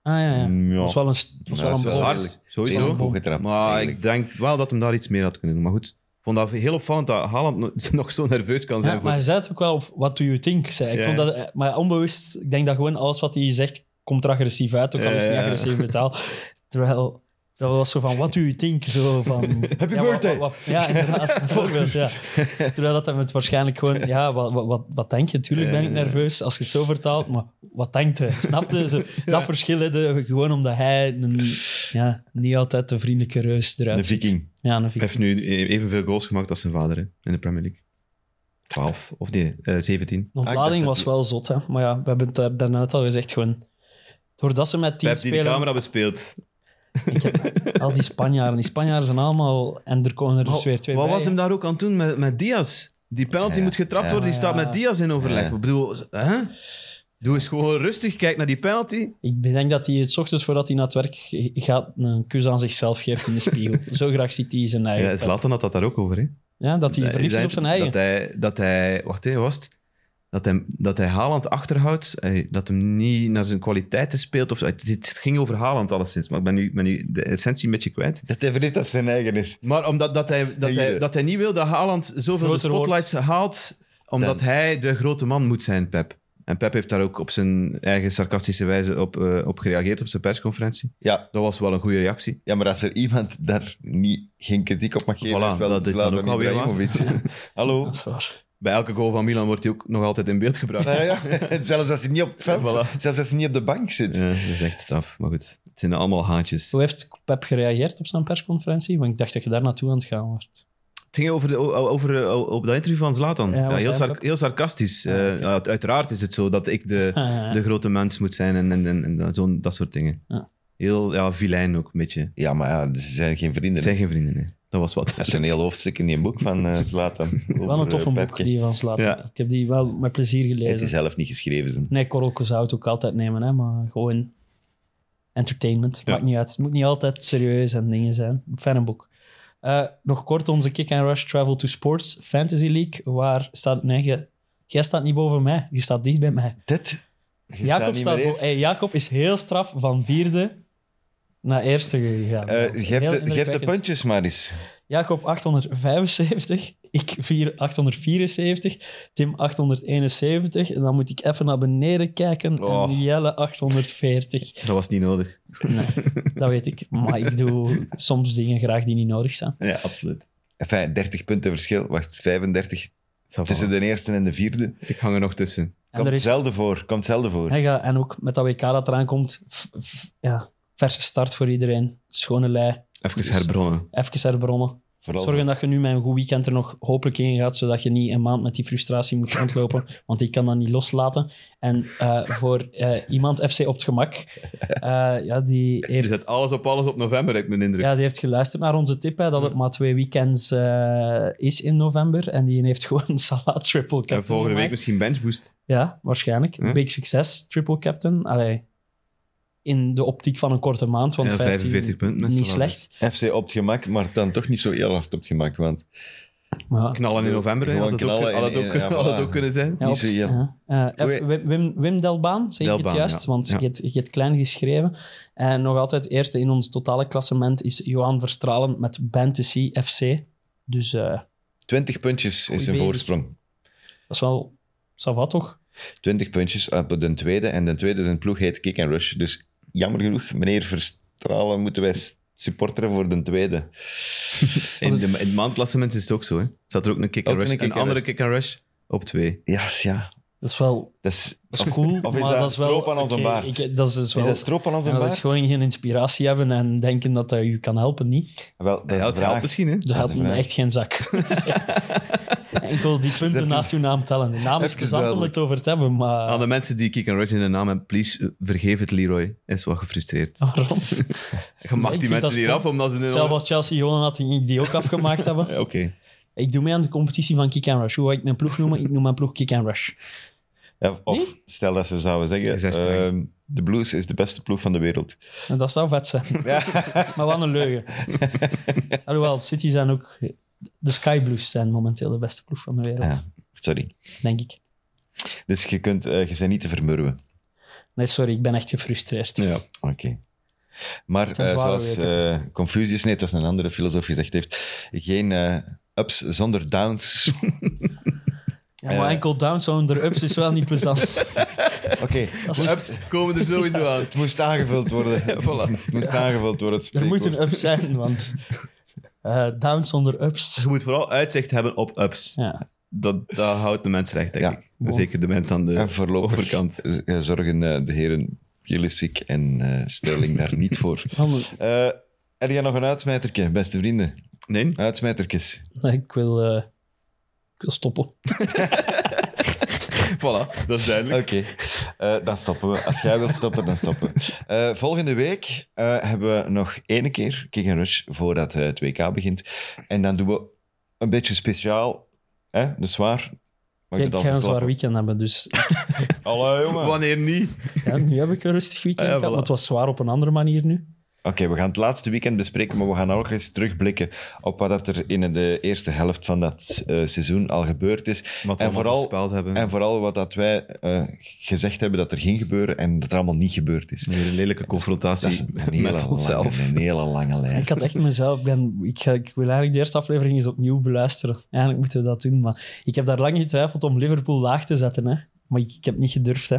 Ah, ja, ja. Ja. Dat was wel een, st- dat was Ja, wel dat een is wel bal. hard. Hard, Tegen de sowieso. boog getrapt, Maar eigenlijk. ik denk wel dat hem daar iets meer had kunnen doen. Maar goed, ik vond dat heel opvallend dat Haaland no- nog zo nerveus kan zijn. Ja, voor... maar hij zei het ook wel op what do you think, zei. Ik Ja, vond ja. dat, eh, maar onbewust, ik denk dat gewoon alles wat hij zegt, komt er agressief uit, ook al Ja, is het niet ja, ja. agressief betaal. Terwijl, dat was zo van what do you think, zo van... Happy ja, birthday. wat- wat- ja, inderdaad, bijvoorbeeld, ja. Terwijl dat hem het waarschijnlijk gewoon, ja, wat, wat- wat, wat denk je? Tuurlijk ben ik Ja. nerveus, als je het zo vertaalt, maar wat denkt hij? Snapte ze? Dat verschil, hè, de- gewoon omdat hij een, ja, niet altijd de vriendelijke reus Een eruit ziet. viking. Ja, een Hij viking. heeft nu e- evenveel goals gemaakt als zijn vader hè, in de Premier League. 12 of nee, eh, 17. De dacht ontlading dat was die- wel zot, hè. Maar ja, we hebben het daar daarnet al gezegd, gewoon... Doordat ze met tien Pep die de spelen... camera bespeelt. Ik heb- al die Spanjaarden. Die Spanjaarden zijn allemaal... En er komen er dus weer twee Wat bij. was hem daar ook aan het doen met, met Diaz? Die penalty Ja. moet getrapt Ja. worden, die staat met Diaz in overleg. Ja. Ik bedoel, hè? Doe eens gewoon rustig, kijk naar die penalty. Ik denk dat hij het 's ochtends voordat hij naar het werk g- gaat een kus aan zichzelf geeft in de spiegel. Zo graag ziet hij zijn eigen. Ja, Zlatan had dat daar ook over, hè? Ja, dat hij verliefd is op zijn eigen. Dat hij, dat hij wacht even, was het? Dat hij, dat hij Haaland achterhoudt, hij- dat hem niet naar zijn kwaliteiten speelt. Of, zo. het, het ging over Haaland alleszins, maar ik ben nu, ben nu de essentie een beetje kwijt. Dat hij niet dat zijn eigen is. Maar omdat dat hij, dat hij, dat hij niet wil dat Haaland zoveel de Groter wordt. spotlights haalt, omdat Dan. hij de grote man moet zijn, Pep. En Pep heeft daar ook op zijn eigen sarcastische wijze op, eh, op gereageerd op zijn persconferentie. Ja, Dat was wel een goede reactie. ja, maar als er iemand daar niet, geen kritiek op mag geven, Voilà, is wel dat is dan Zlatan ook alweer Ibrahimovic. Hallo. Dat is waar. Bij elke goal van Milan wordt hij ook nog altijd in beeld gebracht. Nou ja, zelfs als hij niet op het veld Voilà. zit, zelfs als hij niet op de bank zit. Ja, dat is echt straf. Maar goed, het zijn allemaal haantjes. Hoe heeft Pep gereageerd op zijn persconferentie? Want ik dacht dat je daar naartoe aan het gaan was. Het ging over, de, o- over, eh, o- op dat interview van Zlatan. Ja, Ja, was heel, hij sar- dat? heel sarcastisch. Ja, Eh, oké. ja, uiteraard is het zo dat ik de, de grote mens moet zijn en, en, en, en dat- zo'n- dat soort dingen. Ja. Heel ja, vilijn ook, een beetje. Ja, maar ja, ze zijn geen vrienden. Het hè. zijn geen vrienden, nee. Dat was wat. Dat is een heel hoofdstuk in die boek van eh, Zlatan. eh, Wel een toffe boek, die eh, van Zlatan. eh, Ja. Ik heb die wel met plezier Het is gelezen. zelf niet geschreven. Zijn. Nee, korreltjes zou het ook altijd nemen, hè, maar gewoon entertainment. Ja. Maakt niet uit. Het moet niet altijd serieus en dingen zijn. Fijn boek. Eh, nog kort onze Kick and Rush Travel to Sports Fantasy League. Waar staat... Nee, jij- jij staat niet boven mij. Je staat dicht bij mij. Dit? Je staat Jacob, niet staat meer bo- eerst. hey, Jacob is heel straf van vierde naar eerste gegaan. Eh, Dat is geef, heel de, geef de indrukwekkend. puntjes maar eens. Jacob 875, ik vier 874, Tim 871. En dan moet ik even naar beneden kijken. Oh. En Jelle 840. Dat was niet nodig. Dat weet ik. Maar ik doe soms dingen graag die niet nodig zijn. Ja, absoluut. Enfin, 30 punten verschil. Wacht, 35 tussen Tussen de eerste en de vierde. de- Ik hang er nog tussen. En, Komt er is, zelden voor. Komt zelden voor. hij gaat- en ook met dat WK dat eraan komt, f- f- ja, verse start voor iedereen. Schone lei. Even Dus- herbronnen. Even herbronnen. Vooral Zorgen dat je nu met een goed weekend er nog hopelijk in gaat, zodat je niet een maand met die frustratie moet rondlopen, want ik kan dat niet loslaten. En eh, voor eh, iemand FC op het gemak, eh, ja, die Je heeft... zet alles op alles op november, heb ik mijn indruk. Ja, die heeft geluisterd naar onze tip, hè, dat het maar twee weekends eh, is in november. En die heeft gewoon een Salah triple captain en volgende week gemaakt. misschien benchboost. Ja, waarschijnlijk. Hm? Big succes, triple captain. Allee, in de optiek van een korte maand, want Ja, 15, 45 punten. dus. met niet salaris. slecht. FC op het gemak, maar dan toch niet zo heel hard op het gemak. Want Maar ja. Knallen in november, hè. Gewoon had het ook, knallen had het in- ook, ja, had het voilà. ook kunnen zijn. Niet op- zo heel. ja. Eh, Oei. Wim, Wim, Wim Delbaan, zeg ik Delbaan, het juist, ja. want Ja. ik heb het klein geschreven. En nog altijd eerste in ons totale klassement is Johan Verstralen met Fantasy FC. Dus eh, 20 puntjes Goeie is een bezig. voorsprong. dat is wel... Ça va, toch? 20 puntjes op de tweede. En de tweede zijn ploeg heet Kick and Rush. Dus jammer genoeg, meneer Verstralen, moeten wij supporteren voor de tweede. In, de, in het maandklassement is het ook zo. Hè? Zat er ook een kick and Ook rush. een Een, kick and andere rush. kick and rush op twee. Ja, ja. Dat is wel... Dat is, Dat is cool, of is maar dat dat is wel... stroop aan onze oké, baard? ik- dat is dus is wel... dat stroop aan onze ja, dat baard? is gewoon geen inspiratie hebben en denken dat dat u kan helpen, niet. Wel, dat is Dat de helpt vraag. misschien, hè? Dat is de helpt me vraag. echt geen zak. Enkel die punten Even- naast uw naam tellen. De naam is Even plezant om duidelijk. het over te hebben, maar... Aan de mensen die kick and rush in de naam hebben, please eh, vergeef het Leroy. Hij is wel gefrustreerd. Waarom? Je Nee, mag ik die vind dat mensen hier stom. af omdat ze... in een- Zelfs als Chelsea gewonnen had, ging ik die ook afgemaakt hebben. Ja, Oké. Ik doe mee aan de competitie van Kick and Rush. Hoe ga ik mijn ploeg noemen? Ik noem mijn ploeg Kick and Rush. Ja, Of, of stel dat ze zouden Is dat zeggen: streng? ehm, de Blues is de beste ploeg van de wereld. En dat zou vet zijn. Maar wat een leugen. Alhoewel, City zijn ook... De Sky Blues zijn momenteel de beste ploeg van de wereld, Ja, sorry. denk ik. Dus je, kunt, eh, je bent niet te vermurwen. Nee, sorry, ik ben echt gefrustreerd. Ja. Oké. Maar zijn eh, zware zoals eh, Confucius, nee, het was een andere filosoof, gezegd heeft: geen eh, ups zonder downs. Ja, maar Eh. enkel down zonder ups is wel niet plezant. Oké, Als moest- ups- Komen er sowieso aan. het moest aangevuld worden. Het moest aangevuld worden. Het er moet spreekwoord. een up zijn, want eh down zonder ups... Je moet vooral uitzicht hebben op ups. Ja. Dat, dat houdt de mens recht, denk Ja. ik. Zeker de mensen aan de En voorlopig overkant. z- eh, zorgen eh, de heren Pulisic en eh, Sterling daar niet voor. Dan- Eh er jij nog een uitsmijterke, beste vrienden? Nee? Uitsmijterkes. nee, ik, wil, eh, ik wil stoppen. voilà, dat is duidelijk. Oké, Eh, dan stoppen we. Als jij wilt stoppen, dan stoppen we. Eh, volgende week eh, hebben we nog één keer Kick and Rush voordat eh, het WK begint. En dan doen we een beetje speciaal, hè? dus waar? Mag dat ik ga een verklappen? zwaar weekend hebben, dus Allee, jongen. Oké, Wanneer niet? ja, nu heb ik een rustig weekend Ah, ja, gehad, maar voilà. het was zwaar op een andere manier nu. we gaan het laatste weekend bespreken, maar we gaan ook eens terugblikken op wat dat er in de eerste helft van dat eh, seizoen al gebeurd is. Wat we en, allemaal vooral, voorspeld Mm. hebben. en vooral wat dat wij eh, gezegd hebben dat er ging gebeuren en dat er allemaal niet gebeurd is. Weer een lelijke Dat is confrontatie een hele, met onszelf. Lange, een hele lange lijst. Ik had echt mezelf, ik ben, ik, ga, ik wil eigenlijk de eerste aflevering eens opnieuw beluisteren. Eigenlijk moeten we dat doen, maar ik heb daar lang getwijfeld om Liverpool laag te zetten, hè. Maar ik, ik heb niet gedurfd, hè.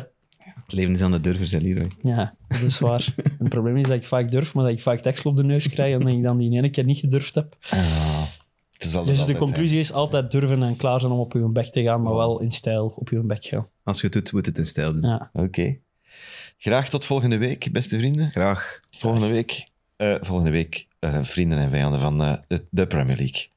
Het leven is aan de durven, zei Leroy. Ja, dat is waar. En het probleem is dat ik vaak durf, maar dat ik vaak tekst op de neus krijg en dat ik dan die ene keer niet gedurfd heb. Ah, het is altijd Dus de altijd, conclusie is altijd durven en klaar zijn om op je bek te gaan, maar wel in stijl op je bek gaan. Als je het doet, moet het in stijl doen. Ja. hè. Oké. Graag tot volgende week, beste vrienden. Graag. Volgende week, eh, volgende week eh, vrienden en vijanden van eh, de, de Premier League.